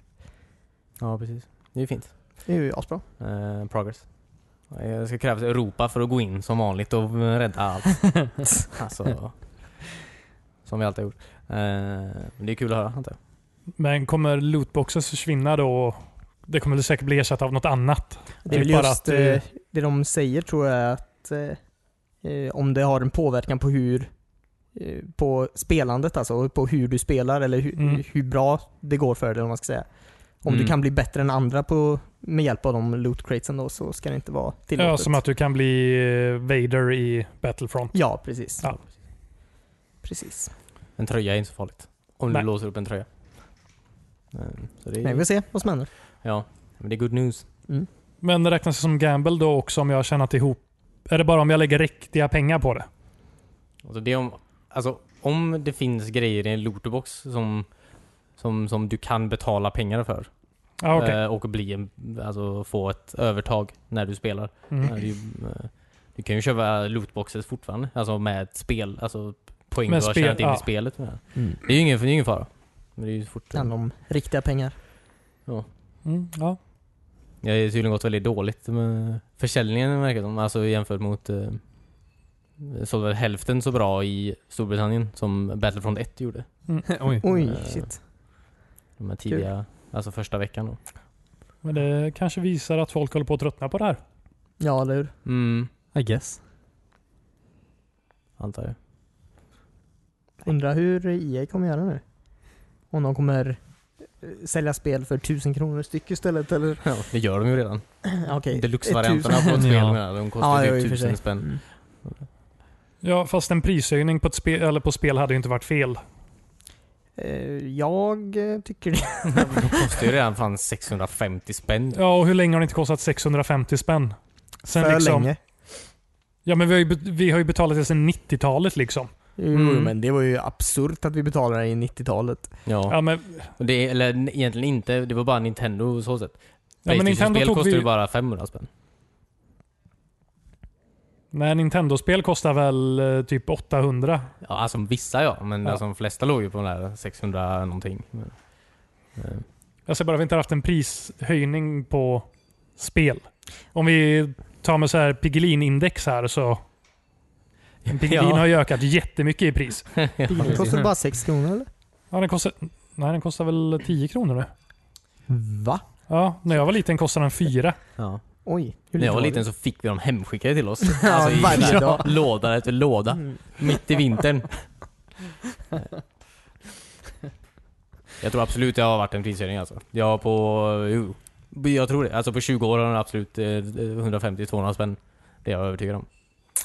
S3: Ja precis. Det är ju fint.
S2: Det är ju asbra.
S3: Eh, progress. Eh, Det ska krävas Europa för att gå in som vanligt och eh, rädda allt. alltså, som vi alltid har gjort. Eh, men det är kul att höra antar jag.
S1: Men kommer lootboxes försvinna då? Det kommer väl säkert bli ersatt av något annat.
S2: Det är väl
S1: Typ bara
S2: just
S1: att, eh,
S2: eh, det de säger tror jag är att eh, eh, om det har en påverkan på hur eh, på spelandet alltså, och på hur du spelar eller hur,
S1: Mm.
S2: hur bra det går för dig om man ska säga. Om
S3: Mm.
S2: du kan bli bättre än andra på, med hjälp av de loot cratesen då så ska det inte vara tillåtet.
S1: Ja, som att du kan bli eh, Vader i Battlefront.
S2: Ja, precis.
S1: Ja.
S2: Precis.
S3: En tröja är inte så farligt. Om
S1: Nej.
S3: du låser upp en tröja. Ehm, Så det
S2: Men vi
S3: är,
S2: får se vad som händer.
S3: ja, men det är good news.
S1: Men det räknas som gamble då också om jag har tjänat ihop? Är det bara om jag lägger riktiga pengar på det?
S3: Alltså det är om, alltså, om det finns grejer i en lootbox som, som, som du kan betala pengar för
S1: Ja, Ah, okej.
S3: eh, och bli en, alltså, få ett övertag när du spelar. Ja,
S1: Mm.
S3: det är ju, eh, du kan ju köpa lootboxes fortfarande, alltså med ett spel, alltså poäng
S1: Med
S3: du har
S1: spel,
S3: tjänat in
S1: ja.
S3: i spelet. Med.
S4: Mm.
S3: Det är ju ingen, det är ingen fara. Men det är ju fort,
S2: Det handlar om riktiga pengar.
S1: Mm, ja.
S3: Ja, det har tydligen gått väldigt dåligt med försäljningen verkar det som. Alltså jämfört mot eh, sålde väl hälften så bra i Storbritannien som Battlefront 1 gjorde.
S4: Oj.
S2: Oj,
S3: Eh,
S2: shit.
S3: De här tidiga, alltså första veckan då.
S1: Men det kanske visar att folk håller på att tröttna på det här.
S2: Ja, eller hur?
S3: Mm,
S4: I guess.
S3: antar jag.
S2: Undrar hur EA kommer göra nu. Om de kommer eh, sälja spel för 1000 kronor styck istället eller?
S3: Ja, det gör de ju redan.
S2: Ja, Okej.
S3: Deluxe-varianterna på
S2: 1000.
S3: ett spel
S4: Ja.
S3: menar jag. de kostar
S2: Ja, ja, i och
S3: typ
S2: för sig.
S3: tusen spänn.
S2: Mm.
S1: Ja, fast en prishöjning på, ett spel, eller på spel hade ju inte varit fel.
S2: Eh, Jag eh, tycker det.
S3: De kostar ju redan fan 650 spänn.
S1: Ja, och hur länge har det inte kostat 650 spänn? Sen
S2: för
S1: liksom,
S2: länge.
S1: Ja, men vi har ju, be- vi har ju betalat det sedan 90-talet liksom.
S2: Jo,
S3: Mm.
S2: men det var ju absurt att vi betalade i 90-talet.
S1: Ja,
S3: Ja.
S1: men,
S3: Och det, eller egentligen inte, det var bara Nintendo och så sätt.
S1: ja, men Nintendo
S3: Playstation-spel
S1: tog
S3: kostar
S1: vi...
S3: ju bara 500 spänn.
S1: Nej, Nintendo-spel kostar väl eh, typ 800.
S3: Ja, alltså vissa ja, men
S1: Ja.
S3: Alltså, de flesta låg ju på den där 600 någonting. Men, eh,
S1: Jag säger bara att vi inte har haft en prishöjning på spel. Om vi tar med så här Piggelin-index här så... en Piggelin
S3: eh, Ja.
S1: har ju ökat jättemycket i pris.
S2: Det kostade bara 6 kronor eller?
S1: Ja, den kostar, nej, den kostar väl 10 kronor nu.
S2: Va?
S1: Ja, när jag var liten kostade den 4.
S3: ja.
S2: Oj. hur
S3: När jag var
S2: det?
S3: liten så fick vi dem hemskickade till oss.
S2: Ja,
S3: Alltså, i
S2: varje dag.
S3: låda efter låda.
S2: Mm.
S3: Mitt i vintern. jag tror absolut det har varit en prishöjning alltså. Jag på... Jo, jag tror det. Alltså på 20 år har den absolut eh, 150-200 spänn. Det är jag övertygad om.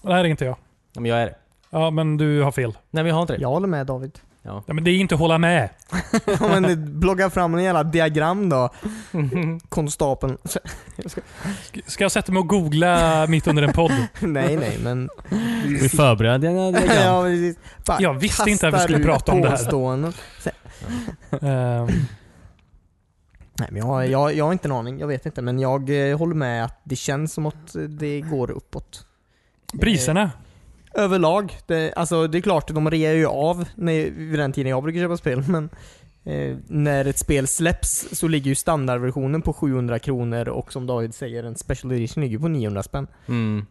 S1: Det här är inte jag.
S3: Ja, Men jag är det.
S1: Ja, men du har fel.
S3: Nej vi har inte det.
S2: Jag håller med David.
S1: Ja, men det är inte att hålla med.
S2: Ja, men blogga fram en jävla diagram då. Konstapeln.
S1: Ska- Ska jag sätta mig och googla mitt under en podd?
S2: nej, nej, men...
S4: Vi förberedde en diagram.
S2: ja, precis. Bara
S1: Jag visste inte att vi
S2: kastar
S1: skulle
S2: ut
S1: prata om det här.
S2: påståenden.
S1: Ehm,
S2: Nej, men jag, jag, jag har inte en aning. Jag vet inte. Men jag eh, håller med att det känns som att eh, det går uppåt.
S1: priserna.
S2: Överlag. Det, alltså, det är klart, de rear ju av när, vid den tiden jag brukar köpa spel. Men eh, när ett spel släpps så ligger ju standardversionen på 700 kronor och som David säger, en special edition ligger på 900 spänn.
S3: Mm.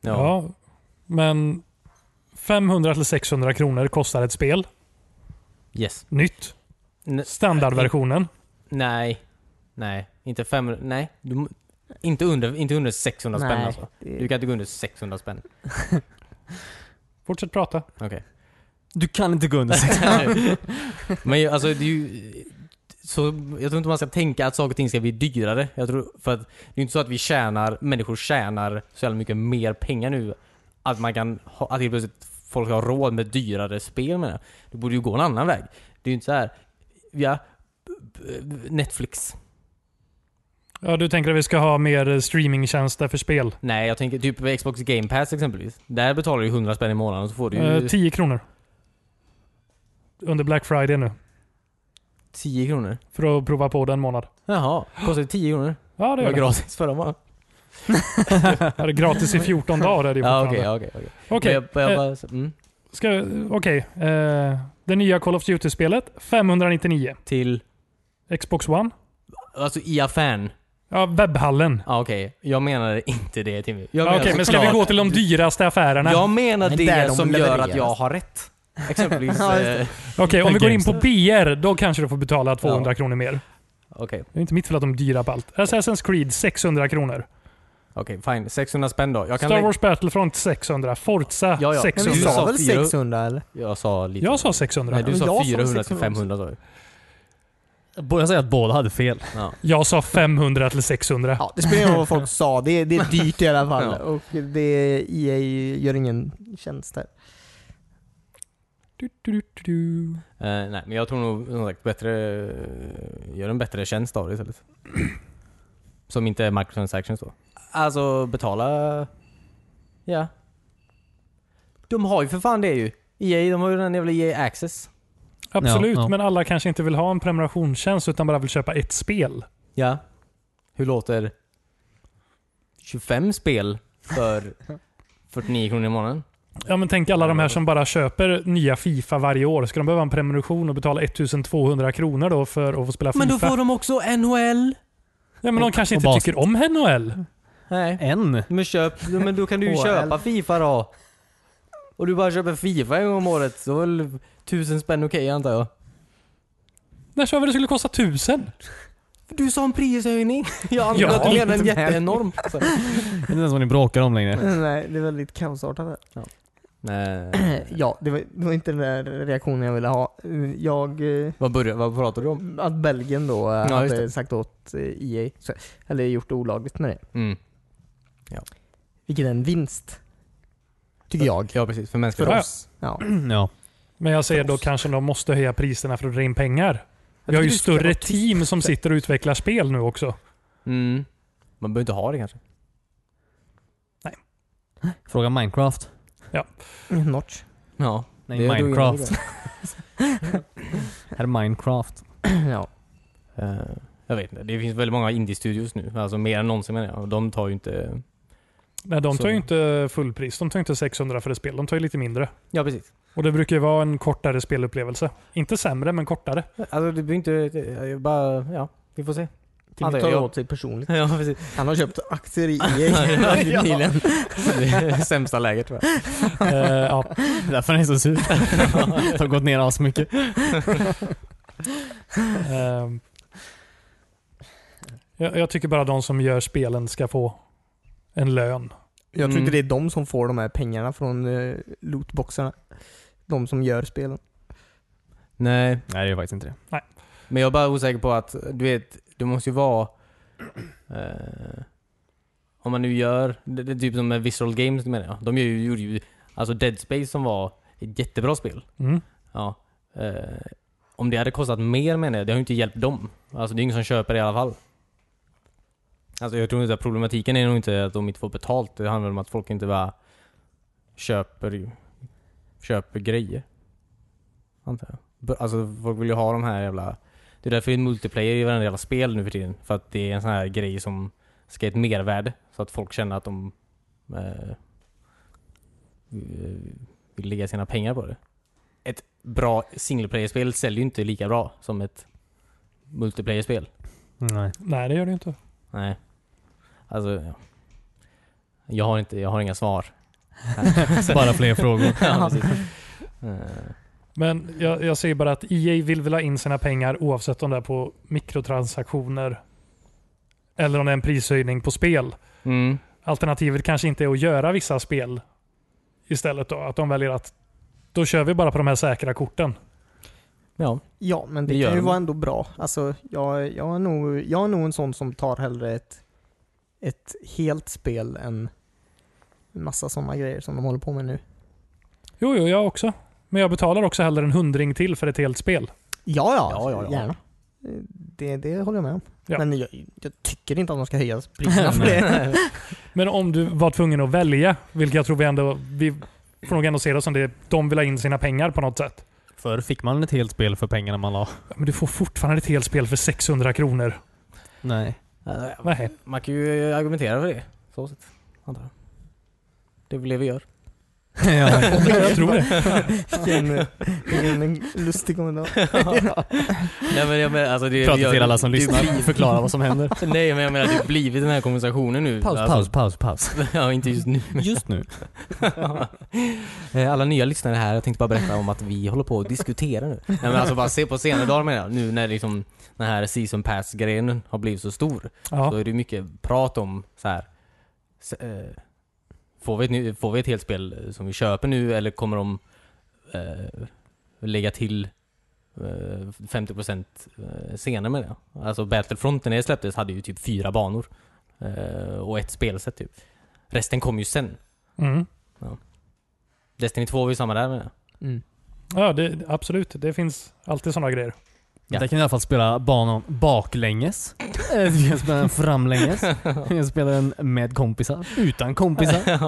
S1: Ja.
S3: Ja.
S1: Men 500 till 600 kronor kostar ett spel.
S3: Yes.
S1: Nytt.
S3: N-
S1: Standardversionen.
S3: nej. Nej. Inte 500. Nej. Du, må- inte, under, inte under 600 spänn
S2: Nej,
S3: alltså.
S2: det-
S3: Du kan inte gå under 600 spänn.
S1: Fortsätt prata.
S3: Okej.
S4: Du kan inte gå under sex.
S3: Men ju- alltså det är ju... Så jag tror inte man ska tänka att saker och ting ska bli dyrare. Jag tror, för att det är ju inte så att vi tjänar, människor tjänar så jävla mycket mer pengar nu. Att man kan ha, att helt plötsligt folk har råd med dyrare spel menar jag. Det borde ju gå en annan väg. Det är ju inte så här, ja, Netflix.
S1: Ja, du tänker att vi ska ha mer streamingtjänster för spel?
S3: Nej, jag tänker typ på Xbox Game Pass exempelvis. Där betalar du 100 spänn i månaden och så får du
S1: Eh,
S3: ju
S1: 10 kronor. Under Black Friday nu.
S3: 10 kronor.
S1: För att prova på den månad.
S3: Jaha, kostar det 10 kronor?
S1: Ja, det
S3: Det
S1: gör
S3: var
S1: det.
S3: gratis förra månaden.
S1: Ja, det är gratis i 14 dagar är det ju
S3: Ja,
S1: fortfarande.
S3: okej,
S1: Okej,
S3: okej, okej.
S1: Eh.
S3: Men jag- jag bara- mm.
S1: ska- okej. Eh, det nya Call of Duty-spelet. 599.
S3: Till?
S1: Xbox One.
S3: Alltså i affären?
S1: Ja, webbhallen.
S3: Ja okej, jag menade inte det Timmy. Jag
S1: Ja, Okej,
S3: menar
S1: men ska vi
S3: såklart-
S1: gå till de dyraste affärerna?
S3: Jag menar
S2: Men där
S3: det
S2: de
S3: som gör att
S2: levereras.
S3: jag har rätt. Exempelvis.
S2: Ja, just
S3: eh,
S1: Okej, om vi går in på
S4: Games.
S1: PR, då kanske du får betala 200 kronor mer.
S3: Okej,
S1: Det är inte mitt fel att de är dyra på allt. Assassin's Creed 600 kronor.
S3: okej, fine. 600 spänn då. Jag, kan
S1: Star
S3: lägga-
S1: Wars Battlefront 600. Forza
S3: Ja,
S2: Men
S3: ja.
S1: 600.
S2: vi
S3: Du
S2: sa
S3: sa
S2: väl
S3: fyra-
S2: 600 eller?
S3: jag sa lite.
S1: Jag sa 600.
S3: Nej, du
S2: men jag
S3: sa
S2: sa
S3: 400 till
S2: 600 också.
S3: 500 sa du.
S4: Jag säger att båda hade fel.
S3: Ja.
S1: Jag sa 500 till 600.
S2: Ja, det spelar ingen roll vad folk sa. Det är, det är dyrt i alla fall.
S3: Ja.
S2: Och det, EA gör ingen tjänst där.
S1: Du, du, du, du, du.
S3: Eh, nej, men jag tror nog som sagt bättre... eh, Gör en bättre tjänst av det istället. Som inte är microtransactions då. Alltså betala... Ja. De har ju för fan det ju. EA, de har ju den jävla EA Access.
S1: Absolut,
S4: Ja, ja.
S1: men alla kanske inte vill ha en prenumerationstjänst utan bara vill köpa ett spel.
S3: Ja. Hur låter 25 spel för 49 kronor i månaden?
S1: Ja, men tänk alla de här som bara köper nya Fifa varje år. Ska de behöva en prenumeration och betala 1200 kronor då för att få spela Fifa?
S3: Men då får de också NHL.
S1: ja, men de kanske inte
S4: Och bas-
S1: tycker om NHL.
S3: Nej.
S4: En?
S3: Men köp, men då kan du ju
S2: HL.
S3: köpa Fifa då. Och du bara köper Fifa en gång om året så är väl tusen spänn okej antar jag.
S1: När sa vi det skulle kosta 1000?
S3: Du sa en prishöjning. Jag antar
S1: Ja,
S3: att du menar en
S4: inte med.
S3: jätteenorm. Så-
S4: Det är inte ens vad ni bråkar om längre.
S2: Nej, det är väldigt kaosartat. här.
S3: Nej.
S2: Ja, det var, det var inte den där reaktionen jag ville ha. Jag... eh,
S3: Vad, börjar, vad pratar du om?
S2: Att Belgien då eh,
S3: Ja, just
S2: hade
S3: det.
S2: sagt åt eh, EA, så- eller gjort det olagligt med det.
S3: Mm.
S2: Vilket är en vinst. Tycker jag.
S3: Ja precis, för mänskliga
S1: För
S3: rättigheter.
S1: oss.
S2: Ja.
S4: Ja.
S1: Men jag säger då kanske de måste höja priserna för att dra in pengar. Vi har ju
S2: tycker du ska vara
S1: större
S2: tyst.
S1: team som sitter och utvecklar spel nu också.
S3: Mm. Man behöver inte ha det kanske.
S4: Fråga Minecraft.
S2: Notch.
S3: Ja.
S4: Nej,
S3: det är du
S4: Minecraft.
S3: inne
S4: Här är Minecraft.
S2: ja.
S3: på. Eh, Jag vet inte, det finns väldigt många indie-studios nu. Alltså mer än någonsin menar jag. Och de tar ju inte...
S1: Nej, de
S3: Så-
S1: tar ju inte fullpris. De tar inte 600 för ett spel. De tar ju lite mindre.
S3: Ja precis.
S1: Och det brukar ju vara en kortare spelupplevelse. Inte sämre, men kortare.
S3: Alltså det blir inte... Jag bara, ja. Vi får se.
S2: Timmy
S3: Antar
S2: tar
S3: jag.
S2: åt sig personligt.
S3: Ja precis.
S2: typ Han har köpt aktier i E EA
S3: Ja.
S2: nyligen.
S3: Det är sämsta läget tror jag.
S1: Eh, ja.
S4: Det är därför han är så sur. De har gått ner asmycket.
S1: Ehm. jag, jag tycker bara de som gör spelen ska få en lön.
S2: Jag tror
S3: Mm.
S2: inte det är de som får de här pengarna från eh, lootboxarna. De som gör spelen.
S3: Nej,
S4: Nej, det är faktiskt inte det.
S3: Men jag är bara osäker på att, du vet, det måste ju vara... Eh, om man nu gör, det, det är typ som med Visual Games menar jag. De gör ju- gjorde ju, alltså Dead Space som var ett jättebra spel.
S1: Mm.
S3: Ja. Eh, om det hade kostat mer menar jag, det har ju inte hjälpt dem. Alltså det är ingen som köper det i alla fall. Alltså jag tror inte att problematiken är nog inte att de inte får betalt. Det handlar om att folk inte bara köper, ju- köper grejer. Antar jag. B- Alltså folk vill ju ha de här jävla... Det är därför det är multiplayer i varenda jävla spel nu för tiden. För att det är en sån här grej som ska ge ett mervärde. Så att folk känner att de eh, vill lägga sina pengar på det. Ett bra singleplayer-spel säljer ju inte lika bra som ett multiplayer-spel.
S4: Nej.
S1: Nej, det gör det ju inte.
S3: Nej. Alltså, ja. jag har, inte, jag har inga svar.
S4: Bara fler frågor.
S3: Ja, precis. Eh,
S1: Men jag, jag säger bara att EA vill väl ha in sina pengar oavsett om det är på mikrotransaktioner eller om det är en prishöjning på spel.
S3: Mm.
S1: Alternativet kanske inte är att göra vissa spel istället då. Att de väljer att då kör vi bara på de här säkra korten.
S3: Ja.
S2: Ja, men det,
S3: Det gör
S2: kan ju
S3: de.
S2: vara ändå bra. Alltså, jag, jag, är nog, jag är nog en sån som tar hellre ett, ett helt spel än en massa sådana grejer som de håller på med nu.
S1: Jo, jo, jag också. Men jag betalar också hellre en hundring till för ett helt spel.
S2: Ja, ja,
S3: Ja, ja, ja.
S2: gärna. Det, det håller jag med om.
S1: Ja.
S2: Men jag, jag tycker inte att de ska höja priserna för
S4: eh,
S2: det.
S1: Men om du var tvungen att välja, vilket jag tror vi ändå... Vi får nog ändå se det som det. De vill ha in sina pengar på något sätt.
S4: Förr fick man ett helt spel för pengarna man la.
S1: Ja, Men du får fortfarande ett helt spel för 600 kronor.
S4: Nej.
S3: Alltså,
S1: Nej.
S3: Man kan ju argumentera för det. Så sätt, antar jag. Det är väl det vi gör.
S4: ja.
S1: Jag tror det.
S2: Vilken, vilken lustig
S3: Mm.
S2: kommentar.
S3: Nej, men jag menar, alltså, det,
S4: Prata
S3: jag-
S4: till alla som
S3: det-
S4: lyssnar. Förklara vad som händer.
S3: Nej men jag menar det har blivit den här konversationen nu. Alltså,
S4: paus, paus.
S3: ja, inte just nu.
S4: Just nu.
S3: Eh, Alla nya lyssnare här, jag tänkte bara berätta om att vi håller på att diskutera nu. Nej men alltså bara se på senare dagar menar jag. Nu när liksom den här season pass-grenen har blivit så stor. Så
S1: Ja.
S3: är det mycket prat om så här. s- eh, Får vi, ett, ny- får vi ett helt spel eh, som vi köper nu eller kommer de eh, lägga till eh, 50% eh, senare med det? Alltså Battlefront när det släpptes hade ju typ fyra banor. Eh, och ett spelsätt typ. Resten kom ju sen.
S1: Mm.
S3: Destiny 2 var ju samma där med det.
S2: Mm.
S1: Ja, det, absolut. Det finns alltid sådana grejer.
S3: Ja.
S4: Där kan vi i alla fall spela banan baklänges. Eh, Vi kan spela den framlänges. Vi kan spela den med kompisar. Utan kompisar.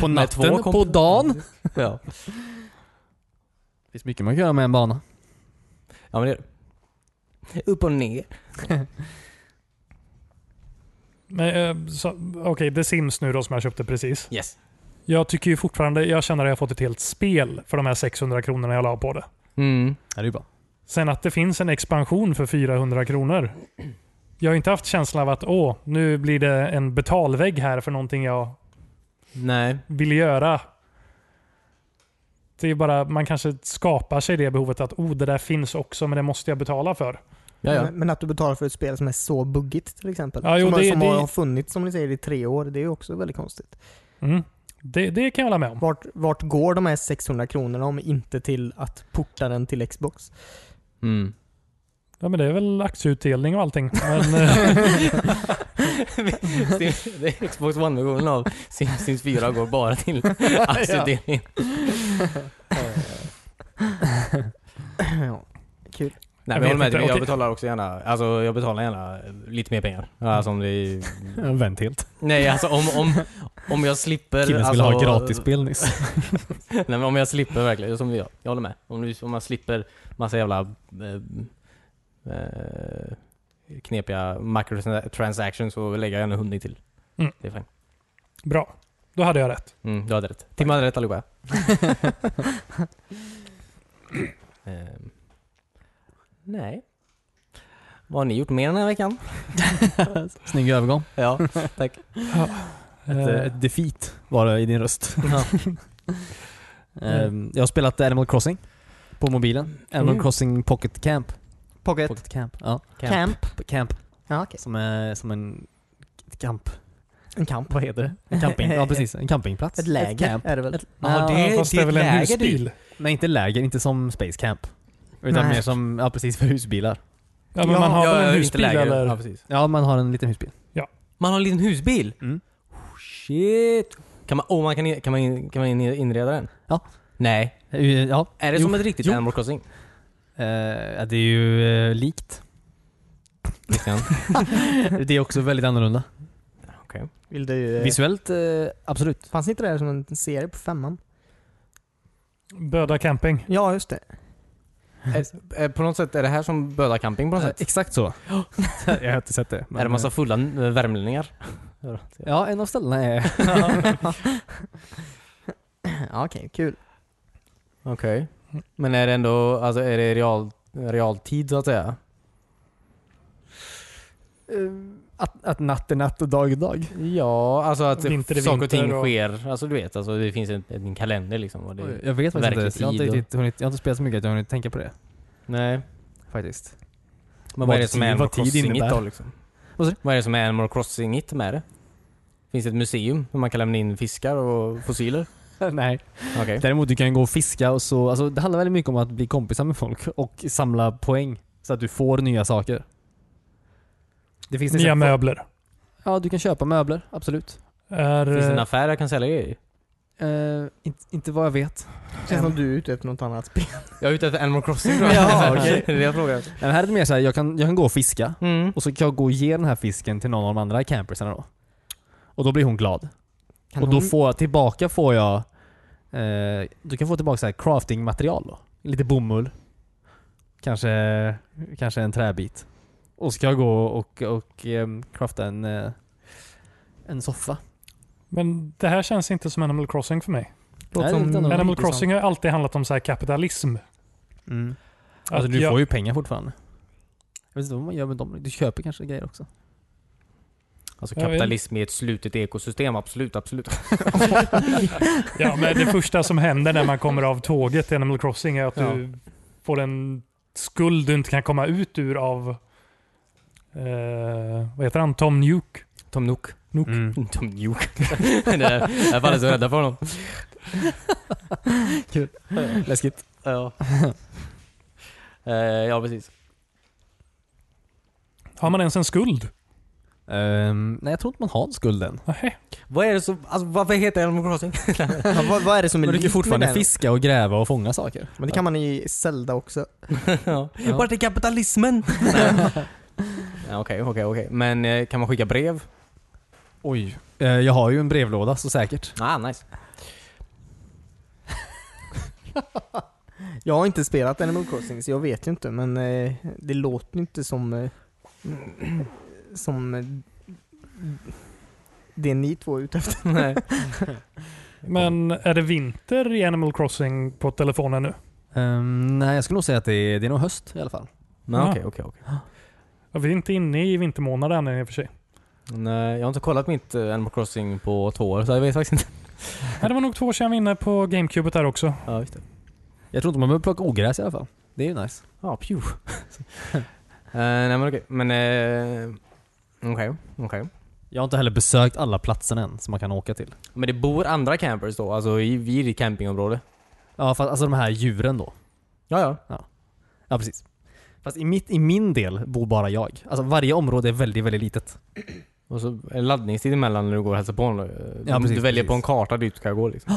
S4: På
S3: Med två
S4: natten. Mm. På
S3: kompisar.
S4: dagen.
S3: ja.
S4: Det finns mycket man kan göra med en bana.
S3: ja, men det är det. Upp och ner.
S1: Men, eh, så- Okej, The Sims nu då som jag köpte precis.
S3: Yes.
S1: Jag tycker ju fortfarande, jag känner att jag har fått ett helt spel för de här 600 kronorna jag la på det.
S3: Mm.
S4: Ja, det är ju bra.
S1: Sen att det finns en expansion för 400 kronor. Jag har inte haft känslan av att åh, nu blir det en betalvägg här för någonting jag
S3: Nej.
S1: vill göra. Det är bara, man kanske skapar sig det behovet att oh, det där finns också men det måste jag betala för.
S3: Ja, ja.
S2: Men, men att du betalar för ett spel som är så buggigt till exempel.
S1: Ja, jo,
S2: som har-
S1: det-
S2: som
S1: det-
S2: har funnits som ni säger i tre år. Det är ju också väldigt konstigt.
S1: Mm. Det, det kan jag hålla med om.
S2: Vart, vart går de här 600 kronorna om inte till att porta den till Xbox?
S3: Mm.
S1: Ja, men det är väl aktieutdelning och allting. Men, eh,
S3: Sims- det är Xbox One-versionen av Sims, Sims 4 går bara till aktieutdelningen.
S2: ja, kul.
S3: Nej men
S1: vet
S3: jag håller med,
S1: inte,
S3: jag
S1: okej.
S3: betalar också gärna, alltså jag betalar gärna lite mer pengar. Alltså om det är...
S4: Ja, Vänt helt.
S3: Nej alltså om, om, om jag slipper...
S4: Killen
S3: alltså,
S4: skulle ha gratisspel nyss.
S3: Nej men om jag slipper verkligen, som jag, jag håller med. Om, du, om man slipper massa jävla eh, eh, knepiga microtransactions så lägger jag gärna hundring till.
S1: Mm.
S3: Det är fint.
S1: bra, då hade jag rätt.
S3: Mm, du hade rätt. Tim hade rätt allihopa. Ehm, nej. Vad har ni gjort mer den här veckan?
S4: Snygg övergång.
S3: Ja, tack.
S4: Ett, eh, ett defeat var det i din röst.
S3: Ja.
S4: Ehm, Jag har spelat Animal Crossing på mobilen. Animal
S1: Mm.
S4: Crossing Pocket Camp.
S2: Pocket.
S4: Pocket Camp. Ja.
S2: Camp.
S4: Camp.
S2: Ja, okej.
S4: Som är som en kamp.
S2: En kamp.
S4: Vad heter det? En camping. Ja precis, en campingplats.
S2: Ett läger
S4: camp.
S2: är det väl?
S4: Ett-
S3: Ja, det-
S1: Ja, fast det är väl en
S3: läger
S1: husbil?
S4: Nej inte läger, inte som Space Camp. Utan
S2: Nej.
S4: mer som, ja precis för husbilar.
S1: Ja, men man har
S3: Ja,
S1: väl en
S3: inte
S1: husbil
S3: läger.
S1: eller?
S3: Ja, precis.
S4: Ja man har en liten husbil.
S3: Man har en liten husbil?
S4: Mm.
S3: Oh, shit. Kan man, oh, man kan, in- kan, man, in- kan man in- inreda den?
S4: Ja.
S3: Nej.
S4: Eh, Ja,
S3: Är det
S4: Jo.
S3: som ett riktigt
S4: Jo.
S3: Animal Crossing?
S4: Eh, ja, det är ju eh, likt.
S3: Christian?
S4: Det är också väldigt annorlunda.
S3: Okej.
S2: Vill du... eh,
S4: Visuellt, eh, absolut.
S2: Fanns inte det här som en serie på femman?
S1: Böda camping.
S2: Ja, just det.
S3: Eh, eh, På något sätt, är det här som Böda camping på något sätt?
S4: Eh, exakt så. jag har inte sett det. men-
S3: är det massa fulla eh, värmlänningar?
S4: Ja, en av ställena är...
S2: Ja, okej, kul.
S3: Okej. Men är det ändå, alltså är det real, realtid så att säga?
S4: Att, att natt är natt och dag är dag.
S3: Ja, alltså att
S1: Vinter är
S3: saker och ting
S1: vinter och-
S3: sker. Alltså du vet, alltså det finns en, en kalender liksom. Och det,
S4: Jag vet faktiskt
S3: Verklig
S4: inte. Jag har inte,
S3: tid och-
S4: riktigt hunnit, jag har inte spelat så mycket att jag har hunnit tänka på det.
S3: nej.
S4: Faktiskt.
S3: Men vad
S4: Vad
S3: är det som
S4: tid-
S3: är Animal
S4: vad tid
S3: Crossing-igt
S4: innebär.
S3: då liksom?
S4: Vad sa du?
S3: Vad är det som är Animal Crossing-igt med det? Finns det ett museum där man kan lämna in fiskar och fossiler?
S4: Nej.
S3: Okej.
S4: Däremot du kan gå och fiska och så. Alltså, det handlar väldigt mycket om att bli kompisar med folk och samla poäng. Så att du får nya saker. Det finns till
S1: Nya
S4: exempel-
S1: möbler.
S4: Ja, du kan köpa möbler. Absolut.
S1: Är,
S3: Finns det en
S1: eh,
S3: affär jag kan sälja grejer i?
S4: Eh, inte, inte vad jag vet.
S2: Känns som du är ute efter något annat spel.
S3: Jag är ute efter Animal Crossing tror jag.
S4: Ja, okej.
S3: Det är det jag frågar.
S4: Nej, Men här är det mer så här, jag kan, jag kan gå och fiska.
S3: Mm.
S4: Och så kan jag gå och ge den här fisken till någon av de andra campersarna då. Och då blir hon glad.
S2: Kan
S4: och då
S2: hon-
S4: får jag tillbaka får jag... Eh, du kan få tillbaka så här crafting-material då. Lite bomull. Kanske, kanske en träbit. Och så kan jag gå och, och ehm, crafta en, eh, en soffa.
S1: men det här känns inte som Animal Crossing för mig.
S2: Låter
S4: Nej, det är
S2: som
S4: lite annorlunda.
S1: Animal
S2: Mm, intressant.
S1: Crossing har ju alltid handlat om så här kapitalism.
S2: Mm.
S4: Alltså
S1: Att
S4: du
S1: jag-
S4: får ju pengar fortfarande. Jag vet inte vad man gör med dem. Du köper kanske grejer också.
S3: Alltså
S1: Jag vet.
S3: kapitalism är ett slutet ekosystem, absolut, absolut.
S1: Ja, men det första som händer när man kommer av tåget i Animal Crossing är att du får en skuld du inte kan komma ut ur av eh, vad heter han? Tom Nuke.
S3: Tom Nook.
S1: Nook.
S2: Mm.
S3: Tom Nook. Det där- Jag var alldeles rädd för honom.
S4: Läskigt.
S3: Ja. Eh, ja, precis.
S1: Har man ens en skuld?
S4: Ehm, nej, jag tror inte man har en skuld än.
S1: Nej.
S3: Vad är det som, alltså varför heter Animal Crossing?
S2: Ja, vad, vad är det som är
S4: Men du kan ju
S2: likt med
S4: fortfarande
S2: den?
S4: fiska och gräva och fånga saker.
S2: Men det kan man i Zelda också.
S3: ja. Vart är kapitalismen? Ja, Okej, okej, okej. Men eh, kan man skicka brev?
S4: Oj. Eh, jag har ju en brevlåda, så säkert.
S3: Ah, nice.
S2: Jag har inte spelat Animal Crossing så jag vet ju inte men eh, det låter ju inte som eh, som eh, det ni två är ute efter.
S3: Nej.
S1: Men är det vinter i Animal Crossing på telefonen nu?
S4: Ehm, nej, jag skulle nog säga att det är, det är nog höst i alla fall.
S3: Men
S1: Ja.
S3: okej, okej, okej.
S1: Ja, Vi är inte inne i vintermånaden än i och för sig.
S3: Nej, eh, jag har inte kollat mitt eh, Animal Crossing på två år, så jag vet faktiskt inte.
S1: Nej, det var nog två år sedan vi var inne på GameCubet där också.
S3: Ja, just det.
S4: Jag tror inte man behöver plocka ogräs i alla fall. Det är ju nice.
S3: Ja, pju. Eh, nej men okej, men... eh, Okej, okej.
S4: Jag har inte heller besökt alla platser än som man kan åka till.
S3: Men det bor andra campers då, alltså i, i ditt campingområde?
S4: Ja, fast, alltså de här djuren då.
S3: Ja, ja.
S4: Ja, precis. Fast i, mitt, i min del bor bara jag. Alltså varje område är väldigt, väldigt litet.
S3: Och så är det laddningstid emellan när du går och hälsar på honom. Du,
S4: Ja, precis,
S3: du väljer
S4: precis.
S3: på en karta dit du ska gå liksom.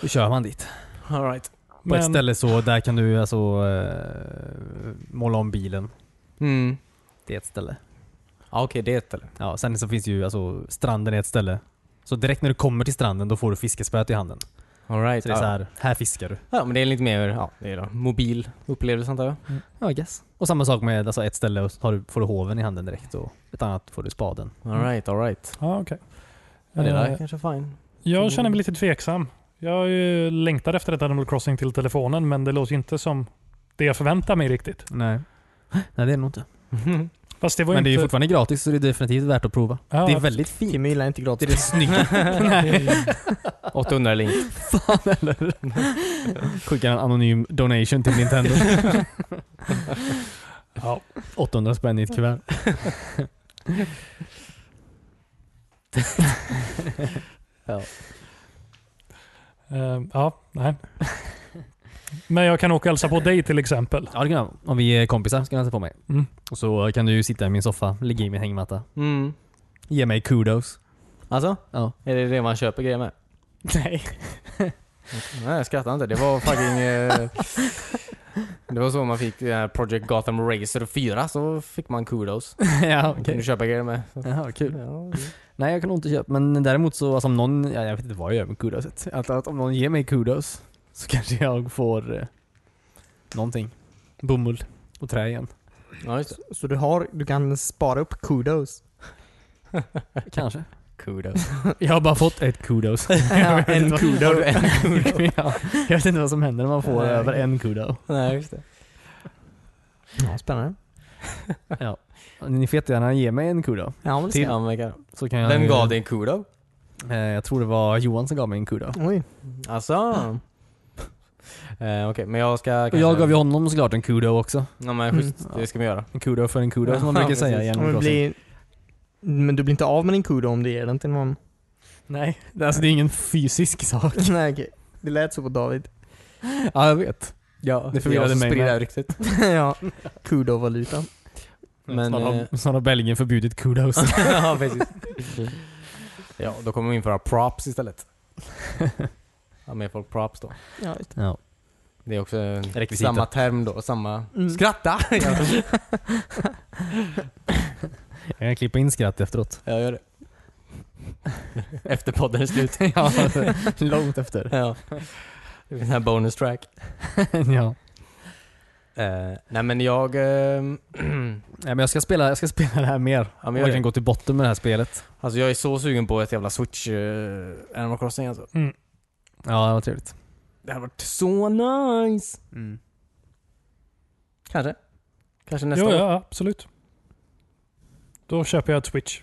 S4: Då kör man dit.
S3: All right.
S4: På ett
S1: Men-
S4: ställe så, där kan du alltså eh, måla om bilen.
S3: Mm.
S4: Det är ett ställe.
S3: Ja, okej, det är ett eller?
S4: Ja, sen så finns ju, alltså stranden är ett ställe. Så direkt när du kommer till stranden då får du fiskespöet i handen.
S3: All right.
S4: Så det är
S3: ja.
S4: så här, här fiskar du.
S3: ja, men det är lite mer, ja, det är då, mobil upplevelse antar jag.
S4: Ja, guess. Och samma sak med alltså ett ställe och så har du, får du hoven i handen direkt och ett annat får du spaden.
S3: All right, all right.
S1: Ja, okej.
S3: Ja, det där
S1: Eh,
S3: är kanske fine.
S1: Jag känner mig lite tveksam. Jag eh, längtar efter ett Animal Crossing till telefonen, men det låter ju inte som det jag förväntar mig riktigt.
S4: Nej. Nej det är nog inte.
S1: Fast det var
S4: Men det är ju
S1: inte...
S4: fortfarande gratis så det är definitivt värt att prova.
S1: Ja,
S4: det är väldigt fint.
S2: Timmy gillar inte
S4: Det är
S2: gratis.
S4: det snygga.
S3: 800 link.
S4: Skickar en anonym donation till Nintendo.
S1: ja.
S4: 800 spänn i ett kuvert.
S1: Eh, ja, nej. Men jag kan åka och hälsa på dig till exempel.
S4: Ja det kan jag. Om vi är kompisar ska du hälsa på mig.
S1: Mm.
S4: Och så kan du ju sitta i min soffa, ligga i min hängmatta.
S3: Mm.
S4: Ge mig kudos.
S3: Alltså?
S4: Ja.
S3: Är det det man köper grejer med?
S4: Nej.
S3: Nej, jag skrattar inte. Det var fucking... eh, det var så man fick den här Project Gotham Racer 4, så fick man kudos.
S4: ja
S3: Okay. Kunde
S4: okej.
S3: köpa grejer med. Så.
S4: Jaha, kul.
S3: Ja,
S4: Nej jag kan nog inte köpa, men däremot så, alltså, om någon, ja, jag vet inte vad jag gör med kudoset. Alltså, att om någon ger mig kudos så kanske jag får eh, någonting. Bomull och trä igen.
S3: ja just det.
S2: Så du, har, du kan spara upp kudos.
S4: Kanske.
S3: Kudos.
S4: Jag har bara fått ett kudos.
S2: Ja, en
S4: kudo. ja, jag vet inte vad som händer när man får
S3: Nej.
S4: över en kudo.
S3: Nej, just det.
S2: Ja, spännande.
S4: Ni får jättegärna ge mig en kudo.
S2: Ja, men det
S3: Till
S2: ska
S4: Så kan jag,
S3: Vem gav dig en kudo?
S4: Eh, jag tror det var Johan som gav mig en kudo.
S2: jag. Oj.
S3: Alltså. Eh, Okej, men jag ska kanske...
S4: Och jag gav ju honom såklart en kudo också.
S3: Ja men schysst,
S2: Mm.
S3: det ska vi göra.
S4: En kudo för en kudo som man
S3: Ja,
S4: brukar
S3: precis.
S4: säga i
S2: Ja,
S4: Animal
S2: men,
S4: Crossing.
S2: blir, men du blir inte av med din kudo om du ger den till någon?
S4: Nej, det- alltså det är ingen fysisk sak.
S2: Nej okej. Det lät så på David.
S4: Ja, jag vet.
S3: Ja,
S4: det förvirrade mig
S3: Det
S4: med.
S3: här ryktet.
S2: ja. Kudovalutan.
S3: Men,
S4: Snart
S3: eh,
S4: har, snart har Belgien förbjudit kudos.
S3: ja, precis. Ja, då kommer vi införa props istället. Ja, mer folk props då.
S2: Ja, just det.
S4: ja.
S3: Det är också en-
S4: Rekvisita.
S3: samma term då, samma...
S2: Mm.
S3: Skratta! Ja,
S4: Jag kan klippa in skratt efteråt.
S3: jag gör det. Efter podden är slut.
S4: ja, långt efter.
S3: Ja. Det blir en sån här bonus track.
S4: ja.
S3: Eh, nej men jag... ehm,
S4: Nej, men jag ska, spela, jag ska spela det här mer.
S3: ja, men
S4: jag
S3: jag,
S4: kan
S3: jag,
S4: gå till botten med det här spelet.
S3: alltså jag är så sugen på ett jävla switch eh, Animal Crossing alltså.
S1: Mm.
S4: Ja, det var trevligt.
S3: Det hade varit så nice!
S4: Mm.
S3: Kanske. Kanske nästa
S1: Jo,
S3: år.
S1: ja, absolut. Då köper jag ett Switch.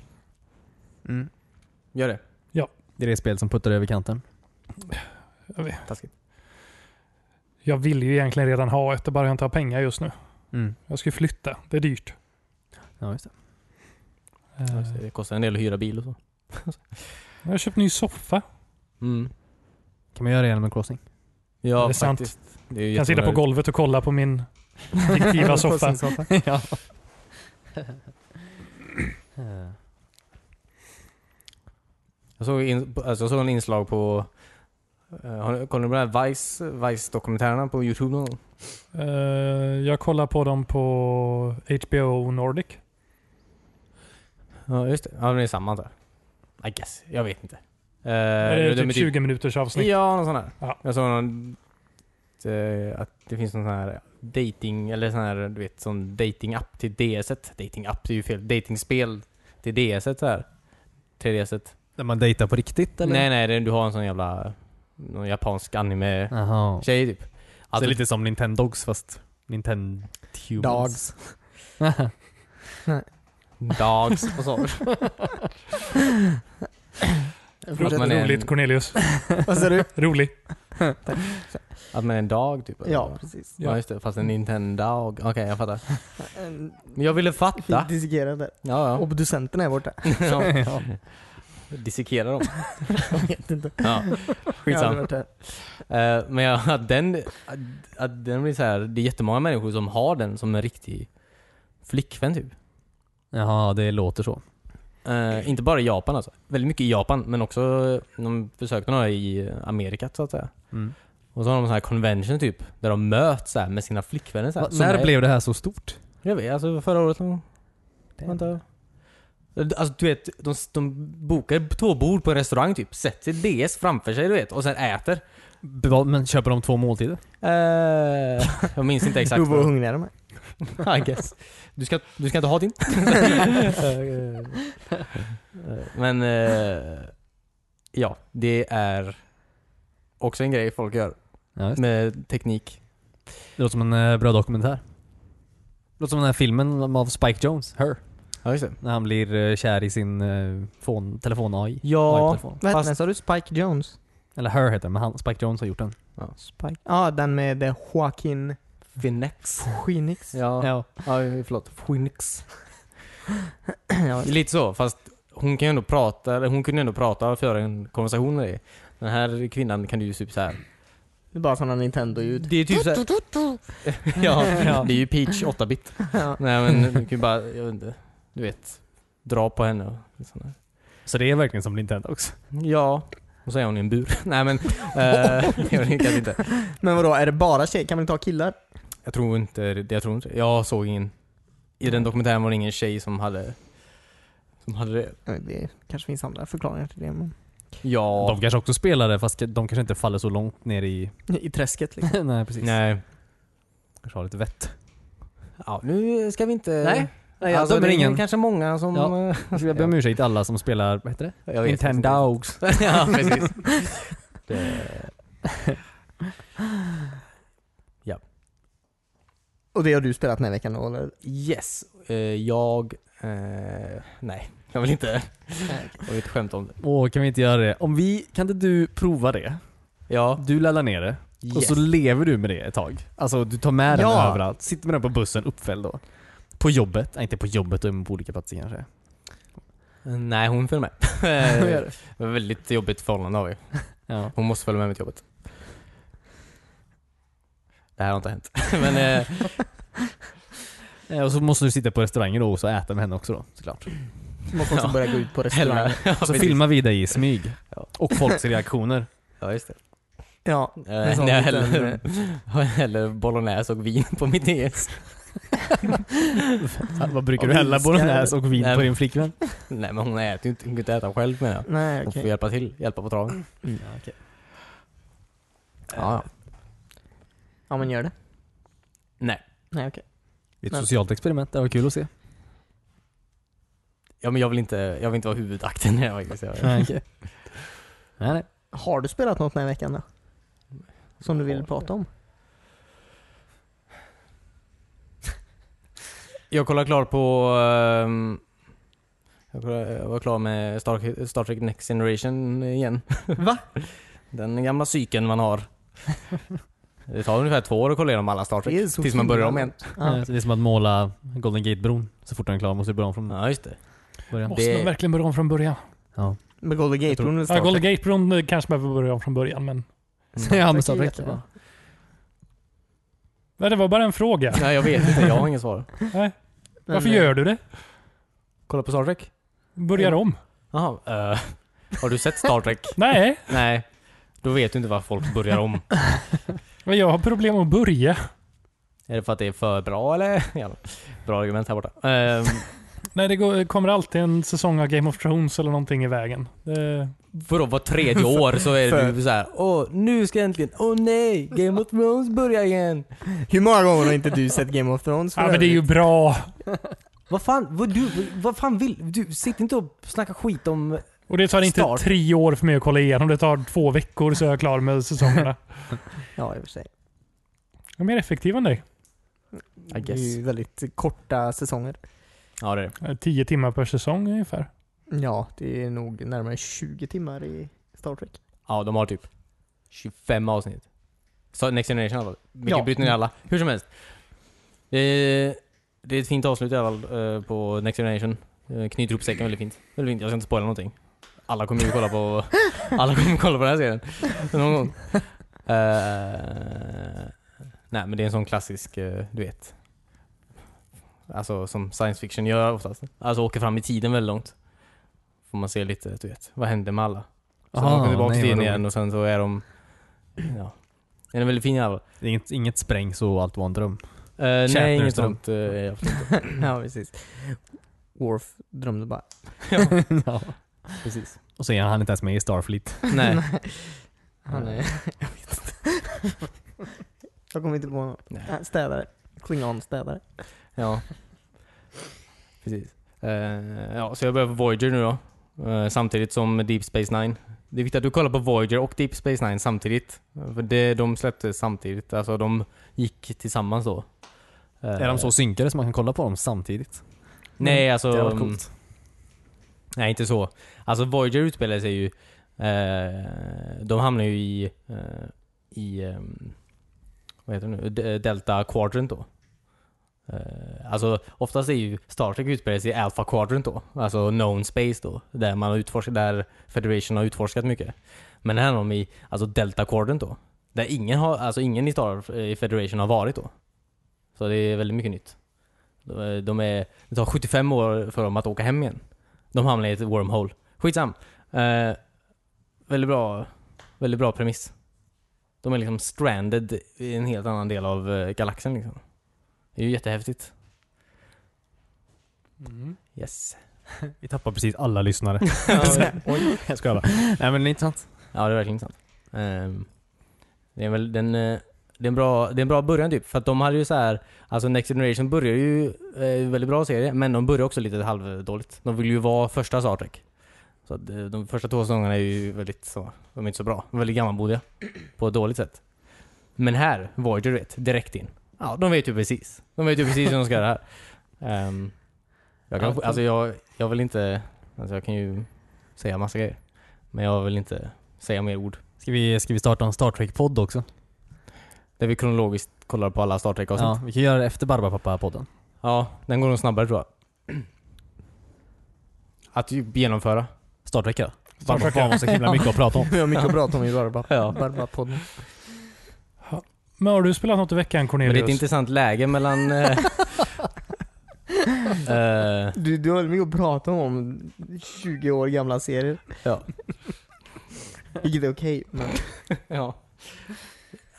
S4: Mm.
S3: Gör det.
S4: Det är det spel som puttar över kanten.
S3: Taskigt.
S1: Jag vill ju egentligen redan ha ett, det är bara jag inte har pengar just nu.
S4: Mm.
S1: Jag ska ju flytta. Det är dyrt.
S4: Ja, just det.
S1: Eh,
S3: Alltså, Det kostar en del att hyra bil och så.
S1: Jag har köpt ny soffa.
S3: Mm.
S4: Kan man göra det genom en crossing?
S1: Det
S3: Ja,
S1: är sant.
S3: faktiskt. Det är ju
S1: kan sitta på
S3: jätteonödigt.
S1: golvet och kolla på min fiktiva soffa.
S2: Crossing-soffa.
S4: ja.
S3: Jag såg, in, alltså jag såg en inslag på... eh, har ni- Kollar ni på den här Vice, Vice-dokumentärerna på Youtube någon gång?
S1: Eh, jag kollar på dem på HBO Nordic.
S3: Ja, just det. Ja, men det är samma antar jag. I guess. Jag vet inte. Eh,
S1: är
S3: de
S1: det
S3: är
S1: typ 20 minuters avsnitt?
S3: Ja, någon sån här.
S1: Ja.
S3: Jag såg någon, eh, att det finns någon sån här dating, eller sån här, du vet, sån dating-app till DS-et. Dating-app, det är ju fel. Dating-spel till DS-et så här. 3DS-et.
S4: När man dejtar på riktigt eller?
S3: Nej, nej, det, du har en sån jävla, någon japansk anime-tjej
S4: Jaha. Så
S3: typ.
S4: det
S3: Alltså,
S4: är lite som Nintendogs fast Nintendo Humans.
S2: Dogs.
S3: dogs och så.
S1: Ro-
S3: Att man är en-
S1: Roligt Cornelius.
S2: Vad sa du?
S1: Rolig.
S3: Att man är en dag typ.
S2: Ja, precis.
S3: Ja, just det. Fast en Nintendo-dag. Okej, jag fattar.
S2: En-
S3: Men jag ville
S2: Vi
S3: fatta.
S2: dissekerar där.
S3: Ja, ja.
S2: Obducenten är borta.
S3: ja. Dissekera dem.
S2: Jag vet inte.
S3: Ja.
S2: Jag har aldrig
S3: Skitsamma.
S2: varit där.
S3: Eh, men jag, att den, att, att den blir så här, det är jättemånga människor som har den som en riktig flickvän typ.
S4: Jaha, det låter så.
S3: Eh, inte bara i Japan alltså. Väldigt mycket i Japan men också eh, de försökte några i Amerika så att säga.
S4: Mm.
S3: Och så har de så här convention typ, där de möts så här med sina flickvänner så här,
S4: Va,
S3: som
S4: när
S3: är-
S4: blev det här så stort?
S3: Jag vet, alltså förra året någon Vänta. Alltså du vet, de, de bokar två bord på en restaurang typ, sätter DS framför sig du vet, och sen äter.
S4: Bra, Men köper de två måltider?
S3: Eh, jag minns inte exakt.
S2: Prova
S3: vad-
S2: vad hungriga de är.
S3: I guess. Du ska, du ska inte ha din. Men eh, ja, det är också en grej folk gör
S4: Ja, just det.
S3: med teknik.
S4: det låter som en eh, bra dokumentär. Det låter som den här filmen av Spike Jones, Her.
S3: Ja, just det.
S4: När han blir eh, kär i sin eh, fon, telefon AI.
S3: Ja,
S4: AI-telefon.
S2: Vad hette
S3: Fast-
S2: den? Sa du Spike Jones?
S4: Eller Her heter den, men han, Spike Jones har gjort den.
S2: Spike? Ja, den med eh, Joaquin
S3: Finex.
S2: Phoenix.
S3: Ja, ja.
S4: Ja.
S3: förlåt. Phoenix.
S2: Ja.
S3: Lite så, fast hon kan ju ändå prata, eller hon kunde ändå prata och föra en konversation med dig. Den här kvinnan kan du ju typ så här.
S2: Det är bara sådana Nintendo-ljud.
S3: Det är typ så här, ja, det är ju Peach 8-bit.
S2: Ja.
S3: Nej men du kan ju bara, jag vet inte, du vet, dra på henne och liksom. där.
S4: Så det är verkligen som Nintendo också.
S3: Ja. Och så är hon i en bur. Nej men, eh, det gör hon ju kanske inte.
S2: Men vadå, är det bara tjejer? Kan man inte ha killar?
S3: Jag tror inte, det- jag tror inte, jag såg ingen, i den dokumentären var det ingen tjej som hade, som hade det.
S2: Ja, Det kanske finns andra förklaringar till det. Men...
S3: Ja.
S4: De kanske också spelar det fast de kanske inte faller så långt ner i...
S2: I träsket liksom.
S4: Nej precis.
S3: Nej.
S4: Kanske har lite vett.
S3: Ja, nu ska vi inte...
S4: Nej,
S3: Eh, Nej,
S4: jag
S3: alltså,
S4: dömer
S3: det är
S4: ingen.
S3: kanske många som...
S4: Ja.
S3: eh,
S4: Alltså, jag ber om ursäkt till alla som spelar, vad heter
S3: jag
S4: det?
S3: vet inte.
S4: Nintendogs.
S3: ja, precis. Det,
S2: Och det har du spelat den här veckan då eller?
S3: yes. Eh, jag... Eh, nej, jag vill inte... Jag vill inte skämta om det.
S4: Åh, kan vi inte göra det? Om vi, kan inte du prova det?
S3: Ja.
S4: Du laddar ner det, och så lever du med det ett tag. Alltså du tar med den
S2: Ja.
S4: överallt, sitter med den på bussen uppfälld då. På jobbet, nej inte på jobbet, då är man på olika platser kanske.
S3: Nej, hon följer med. det var ett väldigt jobbigt förhållande har vi.
S4: Ja.
S3: Hon måste följa med mig till jobbet. Det här har inte hänt. Men eh,
S4: Eh, Och så måste du sitta på restaurangen då och så äta med henne också då, såklart.
S2: Du måste också
S3: Ja.
S2: börja gå ut på
S3: hela...
S2: restaurang.
S3: Ja,
S4: Och så
S3: precis.
S4: filmar vi dig i smyg.
S3: Ja.
S4: Och folks reaktioner.
S3: Ja, just det.
S2: Ja.
S3: Eh,
S2: sån
S3: när jag
S2: liten-
S3: häller, jag häller bolognese och vin på mitt DS.
S4: Vad brukar
S2: Och
S4: du hälla
S2: vinskar.
S4: bolognäs och vin
S3: Nej,
S4: på
S3: men-
S4: din flickvän?
S3: Nej, men hon äter ju inte. Hon kan inte äta själv menar jag.
S2: Nej
S3: Hon
S2: okej.
S3: får hjälpa till. Hjälpa på traven. Mm.
S4: Ja, okej.
S3: Ja, ja.
S2: Ja men gör det.
S3: Nej.
S2: Nej okej.
S4: Det är ett
S2: Men-
S4: socialt experiment, det var kul att se.
S3: Ja, men jag vill inte, jag vill inte vara huvudakten här faktiskt. Jag,
S4: Nej, nej.
S2: Har du spelat något den här veckan då? Som du vill prata om?
S3: Jag kollar klart på... ehm, jag, kollar, jag var klar med Star, Star Trek Next Generation igen.
S2: Va?
S3: Den gamla cykeln man har. Det tar ungefär två år att kolla igenom alla Star Trek.
S2: Det är så
S3: Tills man börjar om igen.
S2: Ja.
S4: Eh, så Det är som att måla Golden Gate-bron. Så fort den är klar måste du börja om från
S3: Ja, just det.
S4: början.
S1: Måste
S3: Det-
S1: man verkligen börja om från början?
S4: Ja.
S2: Med Golden
S4: tror-
S2: Gate-bron eller
S1: Ja,
S2: Star
S1: Golden
S2: Trek?
S1: Gate-bron eh, kanske behöver börja om från början, men...
S3: Mm.
S4: ja, men
S2: Star
S4: Star
S2: Trek är
S4: Trek.
S2: jättebra.
S1: Nej, det var bara en fråga.
S3: Nej, jag vet inte. Jag har inget svar.
S2: Men,
S1: Varför
S2: eh,
S1: gör du det?
S3: Kolla på Star Trek?
S1: Börjar om?
S3: Jaha. eh, har du sett Star Trek?
S1: Nej,
S3: Nej. Då vet du inte varför folk börjar om.
S1: men jag har problem att börja.
S3: Är det för att det är för bra eller? Ja, bra argument här borta. Ehm,
S1: Nej, det går, kommer alltid en säsong av Game of Thrones eller någonting i vägen. Det,
S3: för då var tredje år så är
S2: För-
S3: du så här. Åh, nu ska jag äntligen... Åh nej! Game of Thrones börjar igen!
S2: Hur många gånger har inte du sett Game of Thrones för
S1: ja, men det är ju
S2: övrigt?
S1: bra.
S3: Vad fan, vad, du, vad fan vill du? Sitt inte och snacka skit om...
S1: Och det tar inte
S3: Start.
S1: tre år för mig att kolla igenom. Det tar två veckor så är jag klar med säsongerna.
S2: Ja, i och för sig.
S1: Jag är mer effektiv än dig.
S3: I
S2: Det är
S3: guess.
S2: ju väldigt korta säsonger.
S3: Ja, det är det.
S1: Eh, Tio timmar per säsong ungefär.
S2: Ja, det är nog närmare 20 timmar i Star Trek.
S3: Ja, de har typ 25 avsnitt. Så Next Generation i alla fall. Vilket
S2: Ja.
S3: bryter ner alla. Hur som helst. Eh, det är ett fint avslut i alla fall eh, på Next Generation. Eh, knyter ihop säcken väldigt fint. Väldigt fint. Jag ska inte spoila någonting. Alla kommer ju kolla på... alla kommer kolla på den här serien. Någon gång. Eh, nej, men det är en sån klassisk, eh, du vet. Alltså som science fiction gör oftast. Alltså åker fram i tiden väldigt långt. Får man se lite, du vet. Vad händer med alla? Sen
S4: Ah,
S3: åker de tillbaka
S4: nej,
S3: till tiden
S4: vad roligt.
S3: igen och sen så är de... Ja. Den är väldigt fin i alla fall.
S4: Det är Inget, inget sprängs och allt var en dröm.
S3: Eh, nej,
S4: Shatner
S3: inget
S4: står de.
S3: sånt. eh, är absolut inte.
S2: Mm. ja, precis. Worf drömde bara.
S4: ja.
S3: Precis.
S4: Och så är han inte ens med i Starfleet.
S3: Nej.
S2: Han är... jag vet inte. jag kommer inte på något.
S3: Nej.
S2: Nej, äh, Städare. Klingon-städare.
S3: Ja. Precis. Eh, ja, så jag börjar på Voyager nu då. Eh, samtidigt som Deep Space Nine. Det är viktigt att du kollar på Voyager och Deep Space Nine samtidigt. Eh, För det, de släpptes samtidigt. Alltså de gick tillsammans då. Eh,
S4: Är de så synkade så man kan kolla på dem samtidigt? Ehm.
S3: Nej, alltså...
S4: Det hade varit coolt.
S3: Nej, inte så. Alltså Voyager utspelar sig ju... Eh, de hamnar ju i... Eh, I... Eh, vad heter det nu? De- Delta Quadrant då. Eh, alltså oftast är ju Star Trek utspelar sig i Alpha Quadrant då. Alltså known space då. Där man har utforskat, där Federation har utforskat mycket. Men här har de i alltså Delta Quadrant då. Där ingen, har, alltså ingen i Star i Federation har varit då. Så det är väldigt mycket nytt. De är, de är, det tar 75 år för dem att åka hem igen. De hamnar i ett wormhole. Skitsam. Eh, väldigt bra Väldigt bra premiss. De är liksom stranded i en helt annan del av eh, galaxen liksom. Det är ju jättehäftigt. Yes.
S4: Vi tappar precis alla lyssnare.
S3: ja,
S4: Oj, jag skojar bara. Nej men det är intressant.
S3: det är verkligen sant. Ehm, det, är väl, den, eh, det, är en bra, det är en bra början typ. För att de hade ju så här, alltså Next Generation börjar ju eh, väldigt bra serie, men de börjar också lite halvdåligt. De vill ju vara första Star Trek. Så att, eh, de första två säsongerna är ju väldigt så, de är inte så bra. De är väldigt gammalmodiga. På ett dåligt sätt. Men här, Voyager du vet, direkt in. Ja, de vet ju precis. De vet ju precis hur de ska göra här. Ehm, jag kan, alltså jag, jag vill inte, alltså jag kan ju säga massa grejer. Men jag vill inte säga mer ord.
S4: Ska vi, ska vi starta en Star Trek-podd också?
S3: Där vi kronologiskt kollar på alla Star Trek-avsnitt. Ja.
S4: Ja, vi kan göra det efter Barbapapa-podden.
S3: den går nog snabbare tror jag. Att ju genomföra.
S4: Star Trek ja.
S1: Star Trek,
S4: Barbapapa har så himla mycket att prata om.
S2: Vi har mycket att prata om i Barba.
S3: Ja.
S2: Barba-podden.
S1: Men har du spelat något i veckan
S3: Men
S1: Cornelius?
S3: det är ett intressant läge mellan... eh, eh,
S2: Du, du har mycket att prata om 20 år gamla serier.
S3: ja.
S2: Vilket är okej, men...
S3: ja.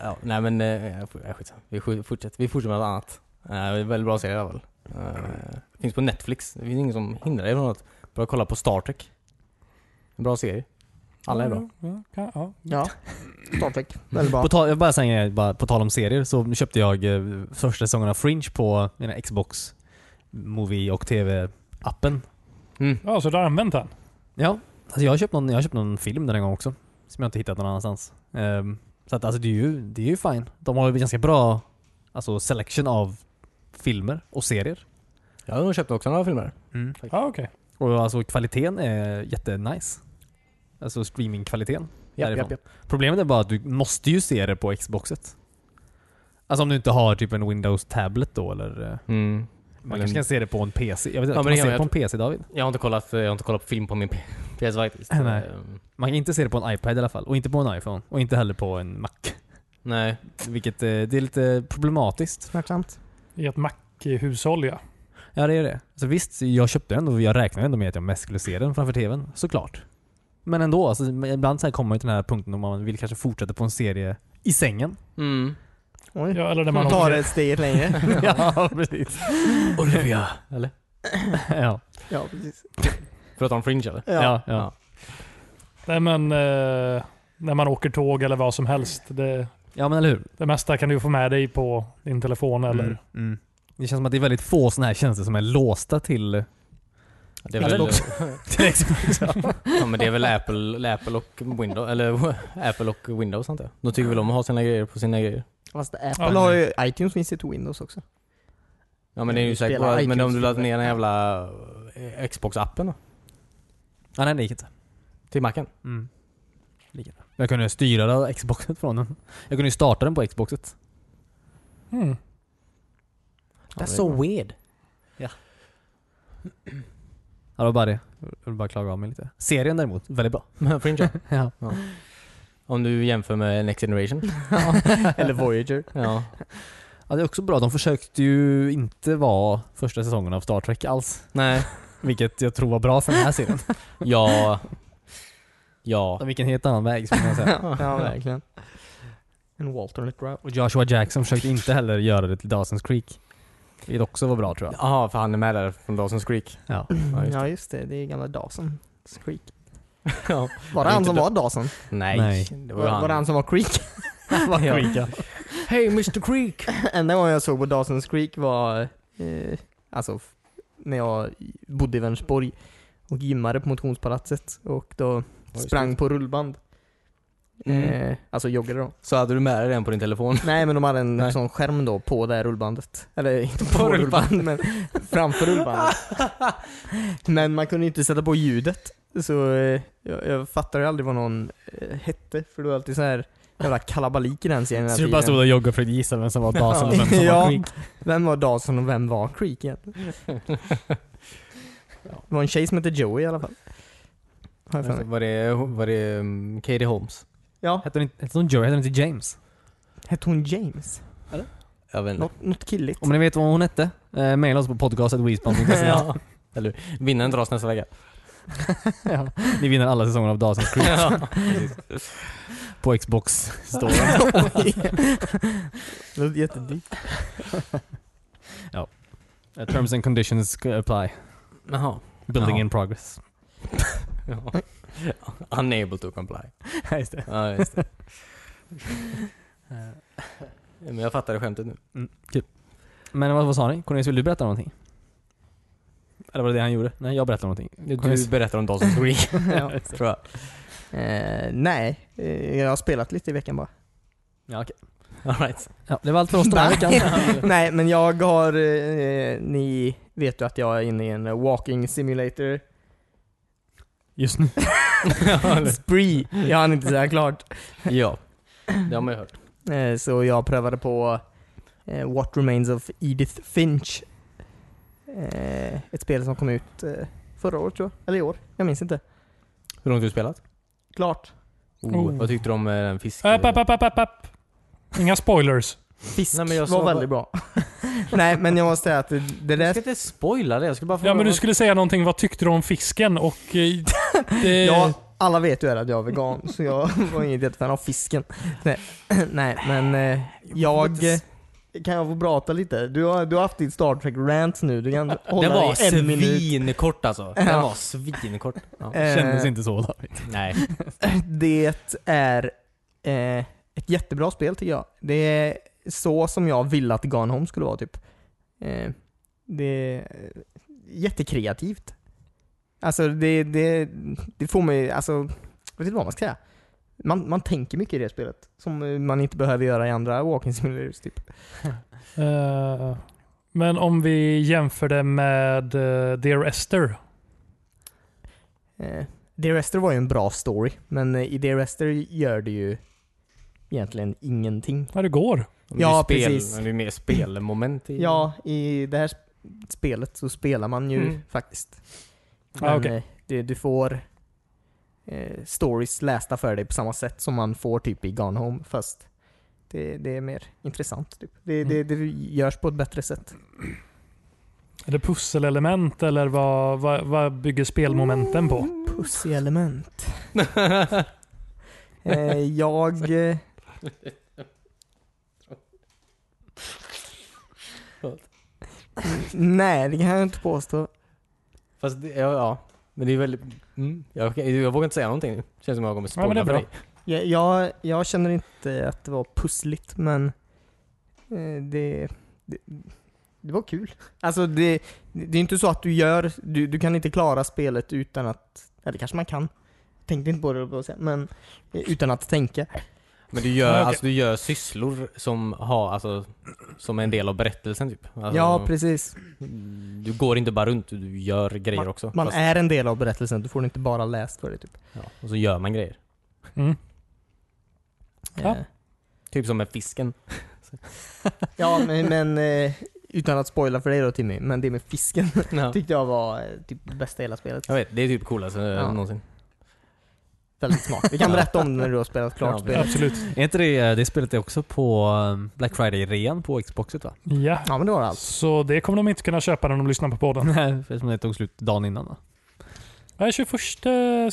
S3: ja. Nej men, eh, jag får- jag skitsamma. Vi skj- fortsätter, vi fortsätter med något annat. Eh, Det är en väldigt bra serie i alla fall. Eh, Finns på Netflix. Det finns ingen som hindrar dig från att börja kolla på Star Trek. En bra serie. Alla är bra.
S1: Ja, ja, ja.
S2: Ja. Star Trek. Väldigt bra.
S4: På tal, jag vill bara säga en grej, bara på tal om serier så köpte jag eh, första säsongen av Fringe på mina Xbox Movie och TV-appen.
S3: Mm.
S1: ja, så du har använt den?
S4: Ja, alltså jag har köpt någon, jag har köpt någon film den här gången också. Som jag inte hittat någon annanstans. Ehm, så att alltså det är ju, det är ju fine. De har ju ganska bra alltså, selection av filmer och serier.
S3: Ja, de köpte också några filmer.
S1: Ja, okej.
S4: Och alltså kvaliteten är jättenice. Alltså streamingkvaliteten.
S3: Japp, japp,
S4: Därifrån.
S3: japp.
S4: Problemet är bara att du måste ju se det på Xboxet. Alltså om du inte har typ en Windows Tablet då eller... eh,
S3: Mm.
S4: Man kanske kan se det på en PC? Jag vet inte,
S3: Ja, men
S4: kan
S3: det
S4: man
S3: kan
S4: se det
S3: man-
S4: på en PC David?
S3: Jag har inte kollat, eh, jag har inte kollat på film på min P- PS faktiskt.
S4: Nej.
S3: Ehm,
S4: Man kan inte se det på en iPad i alla fall. Och inte på en iPhone. Och inte heller på en Mac.
S3: Nej.
S4: Vilket eh, det är lite problematiskt.
S2: Smärtsamt.
S1: I ett Mac-hushåll ja.
S4: Ja, det är det. Så visst, jag köpte den och jag räknade ändå med att jag mest skulle se den framför TVn. Såklart. Men ändå, alltså, ibland så här kommer man ju till den här punkten då man vill kanske fortsätta på en serie i sängen.
S3: Mm.
S2: Oj.
S1: ja eller när man
S2: Man tar
S1: åker-
S2: det ett steg längre.
S4: ja, precis.
S3: Olivia! Eller?
S4: ja.
S2: ja, precis.
S3: Förutom Fringe eller?
S4: Ja, ja.
S3: Ja.
S1: Nej, men, eh, när man åker tåg eller vad som helst. Det,
S4: Ja, men eller hur?
S1: det mesta kan du få med dig på din telefon eller
S4: Mm. Mm. Det känns som att det är väldigt få sådana här tjänster som är låsta till...
S3: Det är väl
S1: Eller-
S4: till Xbox.
S3: Ja men det är väl Apple, Apple och Windows, eller Apple och Windows antar jag. De tycker väl om att ha sina grejer på sina grejer.
S2: Fast
S1: Ja,
S2: Apple har ju, iTunes finns ju till Windows också.
S3: Ja men det är ju
S2: Vi
S3: säkert,
S2: spelar
S3: men om du
S2: iTunes.
S4: typ.
S3: laddar ner den jävla eh, Xbox-appen då?
S4: ja, nej, det gick inte.
S3: Till Macen?
S4: Mm. Jag kunde ju styra det av Xboxet från den. Jag kunde ju starta den på Xboxet.
S1: Mm.
S4: That's
S3: so weird.
S4: Ja, det var bara det. Jag vill bara klaga av mig lite. Serien däremot, väldigt bra.
S3: Men Fringe
S4: Ja.
S3: Om du jämför med Next Generation?
S2: Eller Voyager.
S3: Ja.
S4: Ja, det är också bra. De försökte ju inte vara första säsongen av Star Trek alls.
S3: Nej.
S4: Vilket jag tror var bra för den här serien.
S3: Ja. Ja.
S4: De gick en helt annan väg skulle jag säga.
S2: ja, verkligen. En alternate route.
S4: Och Joshua Jackson försökte inte heller göra det till Dawson's Creek. Vilket också var bra tror jag.
S3: Jaha, för han är med där från Dawson's Creek.
S4: Ja.
S3: Ja, just
S2: Mm, Ja, just det. Det är gamla Dawson. Creek.
S3: Ja.
S2: Var det
S3: Ja,
S2: han
S3: inte
S2: som
S3: då-
S2: var Dawson?
S3: Nej.
S4: Nej.
S3: Det
S2: Var,
S3: var ju han.
S2: var det han som var Creek? Han var
S3: Ja.
S2: Creek ja.
S3: Hey Mr Creek!
S2: Enda gången jag såg på Dawson's Creek var eh, alltså f- när jag bodde i Vänersborg och gymmade på motionspalatset och då sprang på rullband.
S3: Mm.
S2: Eh, alltså joggade då.
S3: Så hade du med dig den på din telefon?
S2: Nej men de hade en
S3: Nej.
S2: sån skärm då på det här rullbandet. Eller inte
S3: På
S2: på rullbandet men framför rullbandet. men man kunde ju inte sätta på ljudet. Så eh, jag, jag fattade ju aldrig vad någon eh, hette för det var alltid så här jävla kalabalik i den serien hela
S4: Så du bara
S2: tiden.
S4: stod och joggade för att gissa vem som var Dawson och vem som
S2: Ja.
S4: var Creek.
S2: Vem var Dawson och vem var Creek egentligen? Det var en tjej som hette Joey i alla fall. Har jag för mig.
S3: Alltså, Var det, var det um, Katie Holmes?
S2: Ja,
S4: Hette hon inte- hette hon Joey? Hette hon inte James?
S2: hette hon James?
S3: Jag vet inte.
S2: Något, något killigt.
S4: Om ni vet vad hon hette, eh, mejla oss på podcastetweespan.se.
S3: ja. Eller hur? Vinnaren dras nästa vecka.
S4: ja. Ni vinner alla säsonger av Dawson's Creek. På Xbox Store.
S2: Det låter jättedyrt.
S4: Eh, Terms and conditions apply.
S3: Jaha.
S4: Building
S3: Ja.
S4: in progress.
S3: Ja. Unable to comply.
S4: Ja, just det.
S3: Ja, just det. Men jag fattar det skämtet nu.
S4: Men vad, vad sa ni? Cornelius, vill du berätta någonting? Eller var det det han gjorde? Nej, jag berättar någonting.
S3: Du
S4: Cornelius-
S3: berättar om Dawson's Creek,
S2: ja.
S3: tror jag.
S2: eh, nej, eh, jag har spelat lite i veckan bara.
S4: Ja, okej.
S3: All right.
S4: ja, det var allt för oss den här veckan.
S3: alltså.
S2: nej, men jag har, eh, ni vet ju att jag är inne i en walking simulator
S4: Just nu.
S2: spree. Jag hann inte säga klart.
S3: Ja, det har man ju hört.
S2: Eh, Så jag prövade på eh, What Remains of Edith Finch. Eh, Ett spel som kom ut eh, förra året tror jag, eller i år. Jag minns inte.
S3: Hur långt har du spelat?
S2: Klart.
S3: Oh,
S1: Oh. Äh,
S3: Vad tyckte du om eh, den fisk...
S1: App, app, app, app, app, app. Inga spoilers.
S2: Fisk
S3: Nej, men jag
S2: var
S3: sa bara-
S2: väldigt bra. Nej men jag måste säga att det- det
S3: Jag
S2: där...
S3: ska inte spoila det, jag skulle bara fråga
S1: Ja, men du
S3: vad-
S1: skulle säga någonting. Vad tyckte du om fisken? Och, eh, det,
S2: Ja, alla vet ju här att jag är vegan så jag var inget jättefan av fisken. Nej, nej men eh, jag... Kan jag få prata lite? Du har, du har haft din Star Trek-rant nu, du kan hålla
S3: Den
S2: dig
S3: var
S2: i en minut.
S3: svinkort alltså. Den var svinkort. Ja.
S2: Eh,
S4: Kändes inte så David.
S3: Nej.
S2: Det är eh, ett jättebra spel tycker jag. Det är så som jag ville att Gone Home skulle vara typ. Eh, det är eh, jättekreativt. Alltså det, det, det får mig, alltså, jag vet inte vad man ska säga. Man, man tänker mycket i det spelet. Som eh, man inte behöver göra i andra walking simulators typ.
S1: Eh, men om vi jämför det med eh, Dear Esther.
S2: Eh, Dear Esther var ju en bra story, men eh, i Dear Esther gör det ju egentligen ingenting.
S1: Ja, det går.
S3: Det är
S2: Ja,
S3: ju spel,
S2: precis.
S3: Det är mer spelmoment i
S2: Ja,
S1: Mm.
S2: i det här sp- spelet så spelar man ju
S3: Mm.
S2: faktiskt.
S1: Ah,
S2: Men,
S1: okej.
S2: eh, det, du får eh, stories lästa för dig på samma sätt som man får typ i Gone Home, fast det, det är mer intressant. Typ. Det,
S1: Mm.
S2: det, det görs på ett bättre sätt.
S1: Är det pusselelement eller vad, vad, vad bygger spelmomenten
S2: Mm.
S1: på?
S2: Pussy-element. eh, jag... Eh, nej, det kan jag inte påstå.
S3: Fast det, ja, ja. Men det är väldigt... Mm. Jag, jag vågar inte säga någonting nu. Känns som att jag kommer spoila
S1: Ja, men det är
S3: för
S1: bra.
S3: dig.
S2: Jag, jag, jag känner inte att det var pussligt, men eh, det, det, det var kul. Alltså det, det är inte så att du gör, du, du kan inte klara spelet utan att, eller kanske man kan. Tänkte inte på det, höll jag på att säga, men eh, utan att tänka.
S3: Men du gör,
S1: Ja, okej.
S3: alltså, du gör sysslor som, har, alltså, som är en del av berättelsen typ. Alltså,
S2: ja, precis.
S3: du går inte bara runt, du gör grejer också.
S2: Man
S3: Fast-
S2: är en del av berättelsen, du får den inte bara läst för dig. Typ.
S3: ja, och så gör man grejer.
S1: Mm. Ja.
S2: Eh,
S3: Typ som med fisken.
S2: ja men, men eh, utan att spoila för dig då Timmy, men det med fisken
S3: Ja.
S2: tyckte jag var eh, typ det bästa i hela spelet.
S3: Jag vet, det är typ coolast
S2: Ja.
S3: någonsin.
S2: Väldigt smart. Vi kan berätta om det när du har spelat klart
S3: Ja,
S2: spelet.
S1: Absolut.
S4: Är inte det, det spelet är också på um, Black Friday-rean på Xboxet va?
S1: Ja.
S2: Ja men det var allt.
S1: Så det kommer de inte kunna köpa när de lyssnar på podden.
S4: Nej, eftersom det tog slut dagen innan va?
S1: Nej, 21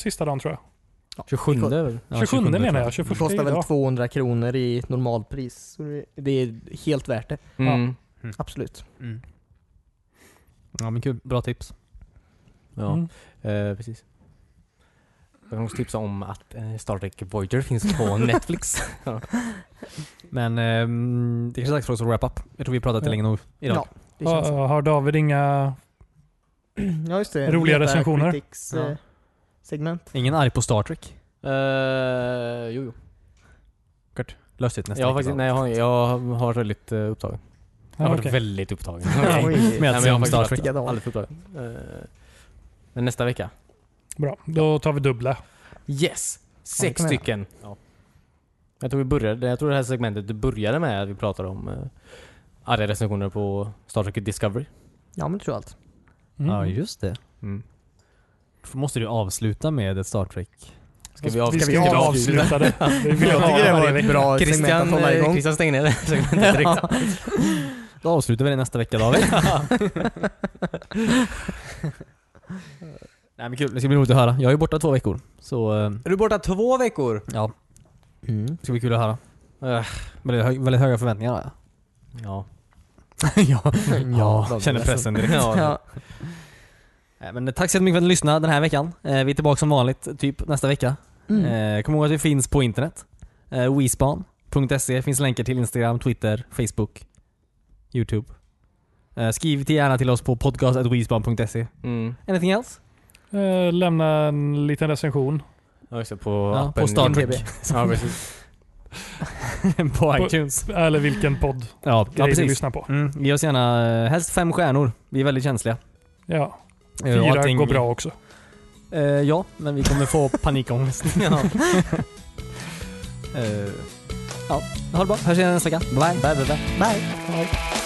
S1: sista dagen tror jag.
S3: 27 väl?
S4: Ja,
S1: 27 menar jag.
S2: Det
S1: 21
S2: kostar väl
S1: idag.
S2: 200 kronor i normalpris. Så det- Det är helt värt det.
S3: Mm.
S2: Absolut.
S4: Mm. Ja men kul, bra tips.
S3: Ja,
S1: Mm.
S3: eh, precis. Jag kan också tipsa om att eh, Star Trek Voyager finns på Netflix.
S4: Men ehm, det kanske är dags för oss att wrap up. Jag tror vi har pratat
S1: Ja.
S4: länge nog idag.
S2: Ja, det känns så.
S1: Har, har David inga...
S2: Ja, just det.
S1: Roliga
S2: Meta
S1: recensioner.
S2: Critics, eh,
S3: Ja.
S2: segment.
S4: Ingen arg på Star Trek?
S3: Eh, jo, jo.
S4: Lös det nästa
S3: Jag har
S4: vecka,
S3: faktiskt,
S4: då.
S3: nej, jag har, jag har väldigt uh, upptagen. Jag
S1: Ja,
S3: har varit
S1: okej.
S3: väldigt upptagen.
S4: Nej.
S2: Oj.
S4: Men
S3: Nej,
S4: jag
S3: men
S4: ser
S3: jag har
S4: om Star
S3: faktiskt
S4: Trek.
S2: Riktiga dagar.
S3: Alldeles upptagen. Eh, men nästa vecka.
S1: Bra, då tar vi dubbla.
S3: Yes!
S2: det
S3: Sex
S2: kan vi göra.
S3: stycken. Jag tror vi började, jag tror det här segmentet började med att vi pratade om uh, arga recensioner på Star Trek Discovery.
S2: Ja, men det tror jag allt.
S1: Mm.
S4: Ja just det.
S3: Mm.
S4: Då måste du avsluta med ett Star Trek.
S3: Ska vi avsluta?
S1: vi ska
S3: Ska vi
S1: avsluta det. Det vill jag
S2: Jag
S1: ha
S2: tycker det var
S1: varje
S2: ett
S1: vecka.
S2: bra segment
S3: Christian,
S2: att hålla
S3: eh,
S2: igång.
S3: Christian stänger ner det segmentet direkt.
S4: Då avslutar vi det nästa vecka David. nej men kul, det ska bli roligt att höra. Jag är borta två veckor. Så eh,
S3: Är du borta två veckor?
S4: ja,
S2: Mm.
S4: det ska bli kul att höra.
S3: Eh,
S4: Väldigt, hö- väldigt höga förväntningar har jag.
S3: ja.
S4: ja,
S2: Ja,
S4: ja, känner pressen direkt.
S3: ja.
S2: Ja.
S4: Nej, Men eh, tack så mycket för att ni lyssnade den här veckan. Eh, Vi är tillbaka som vanligt, typ nästa vecka.
S2: Mm.
S4: Eh, Kom ihåg att vi finns på internet. Eh, Wespan.se finns länkar till Instagram, Twitter, Facebook, Youtube. Eh, Skriv till gärna till oss på podcast.wespan.se.
S3: Mm.
S4: Anything else?
S1: Eh, Lämna en liten recension.
S3: ja just det, på
S4: Ja,
S3: appen.
S4: på Star
S2: IMDb.
S4: Trek.
S3: Ja, precis.
S4: på
S1: På-
S4: iTunes.
S1: Eller vilken podd
S4: Ja, ja
S1: du
S4: precis.
S1: lyssnar på.
S4: Mm, ge oss gärna eh, helst fem stjärnor. Vi är väldigt känsliga.
S1: Ja.
S4: Eh, och
S1: Fyra
S4: allting-
S1: går bra också.
S4: Eh, ja, men vi kommer få panikångest. ja. Eh, ja, ha det bra. Hörs igen nästa vecka. Bye. Bye, bye, bye.
S2: Bye.
S4: Bye.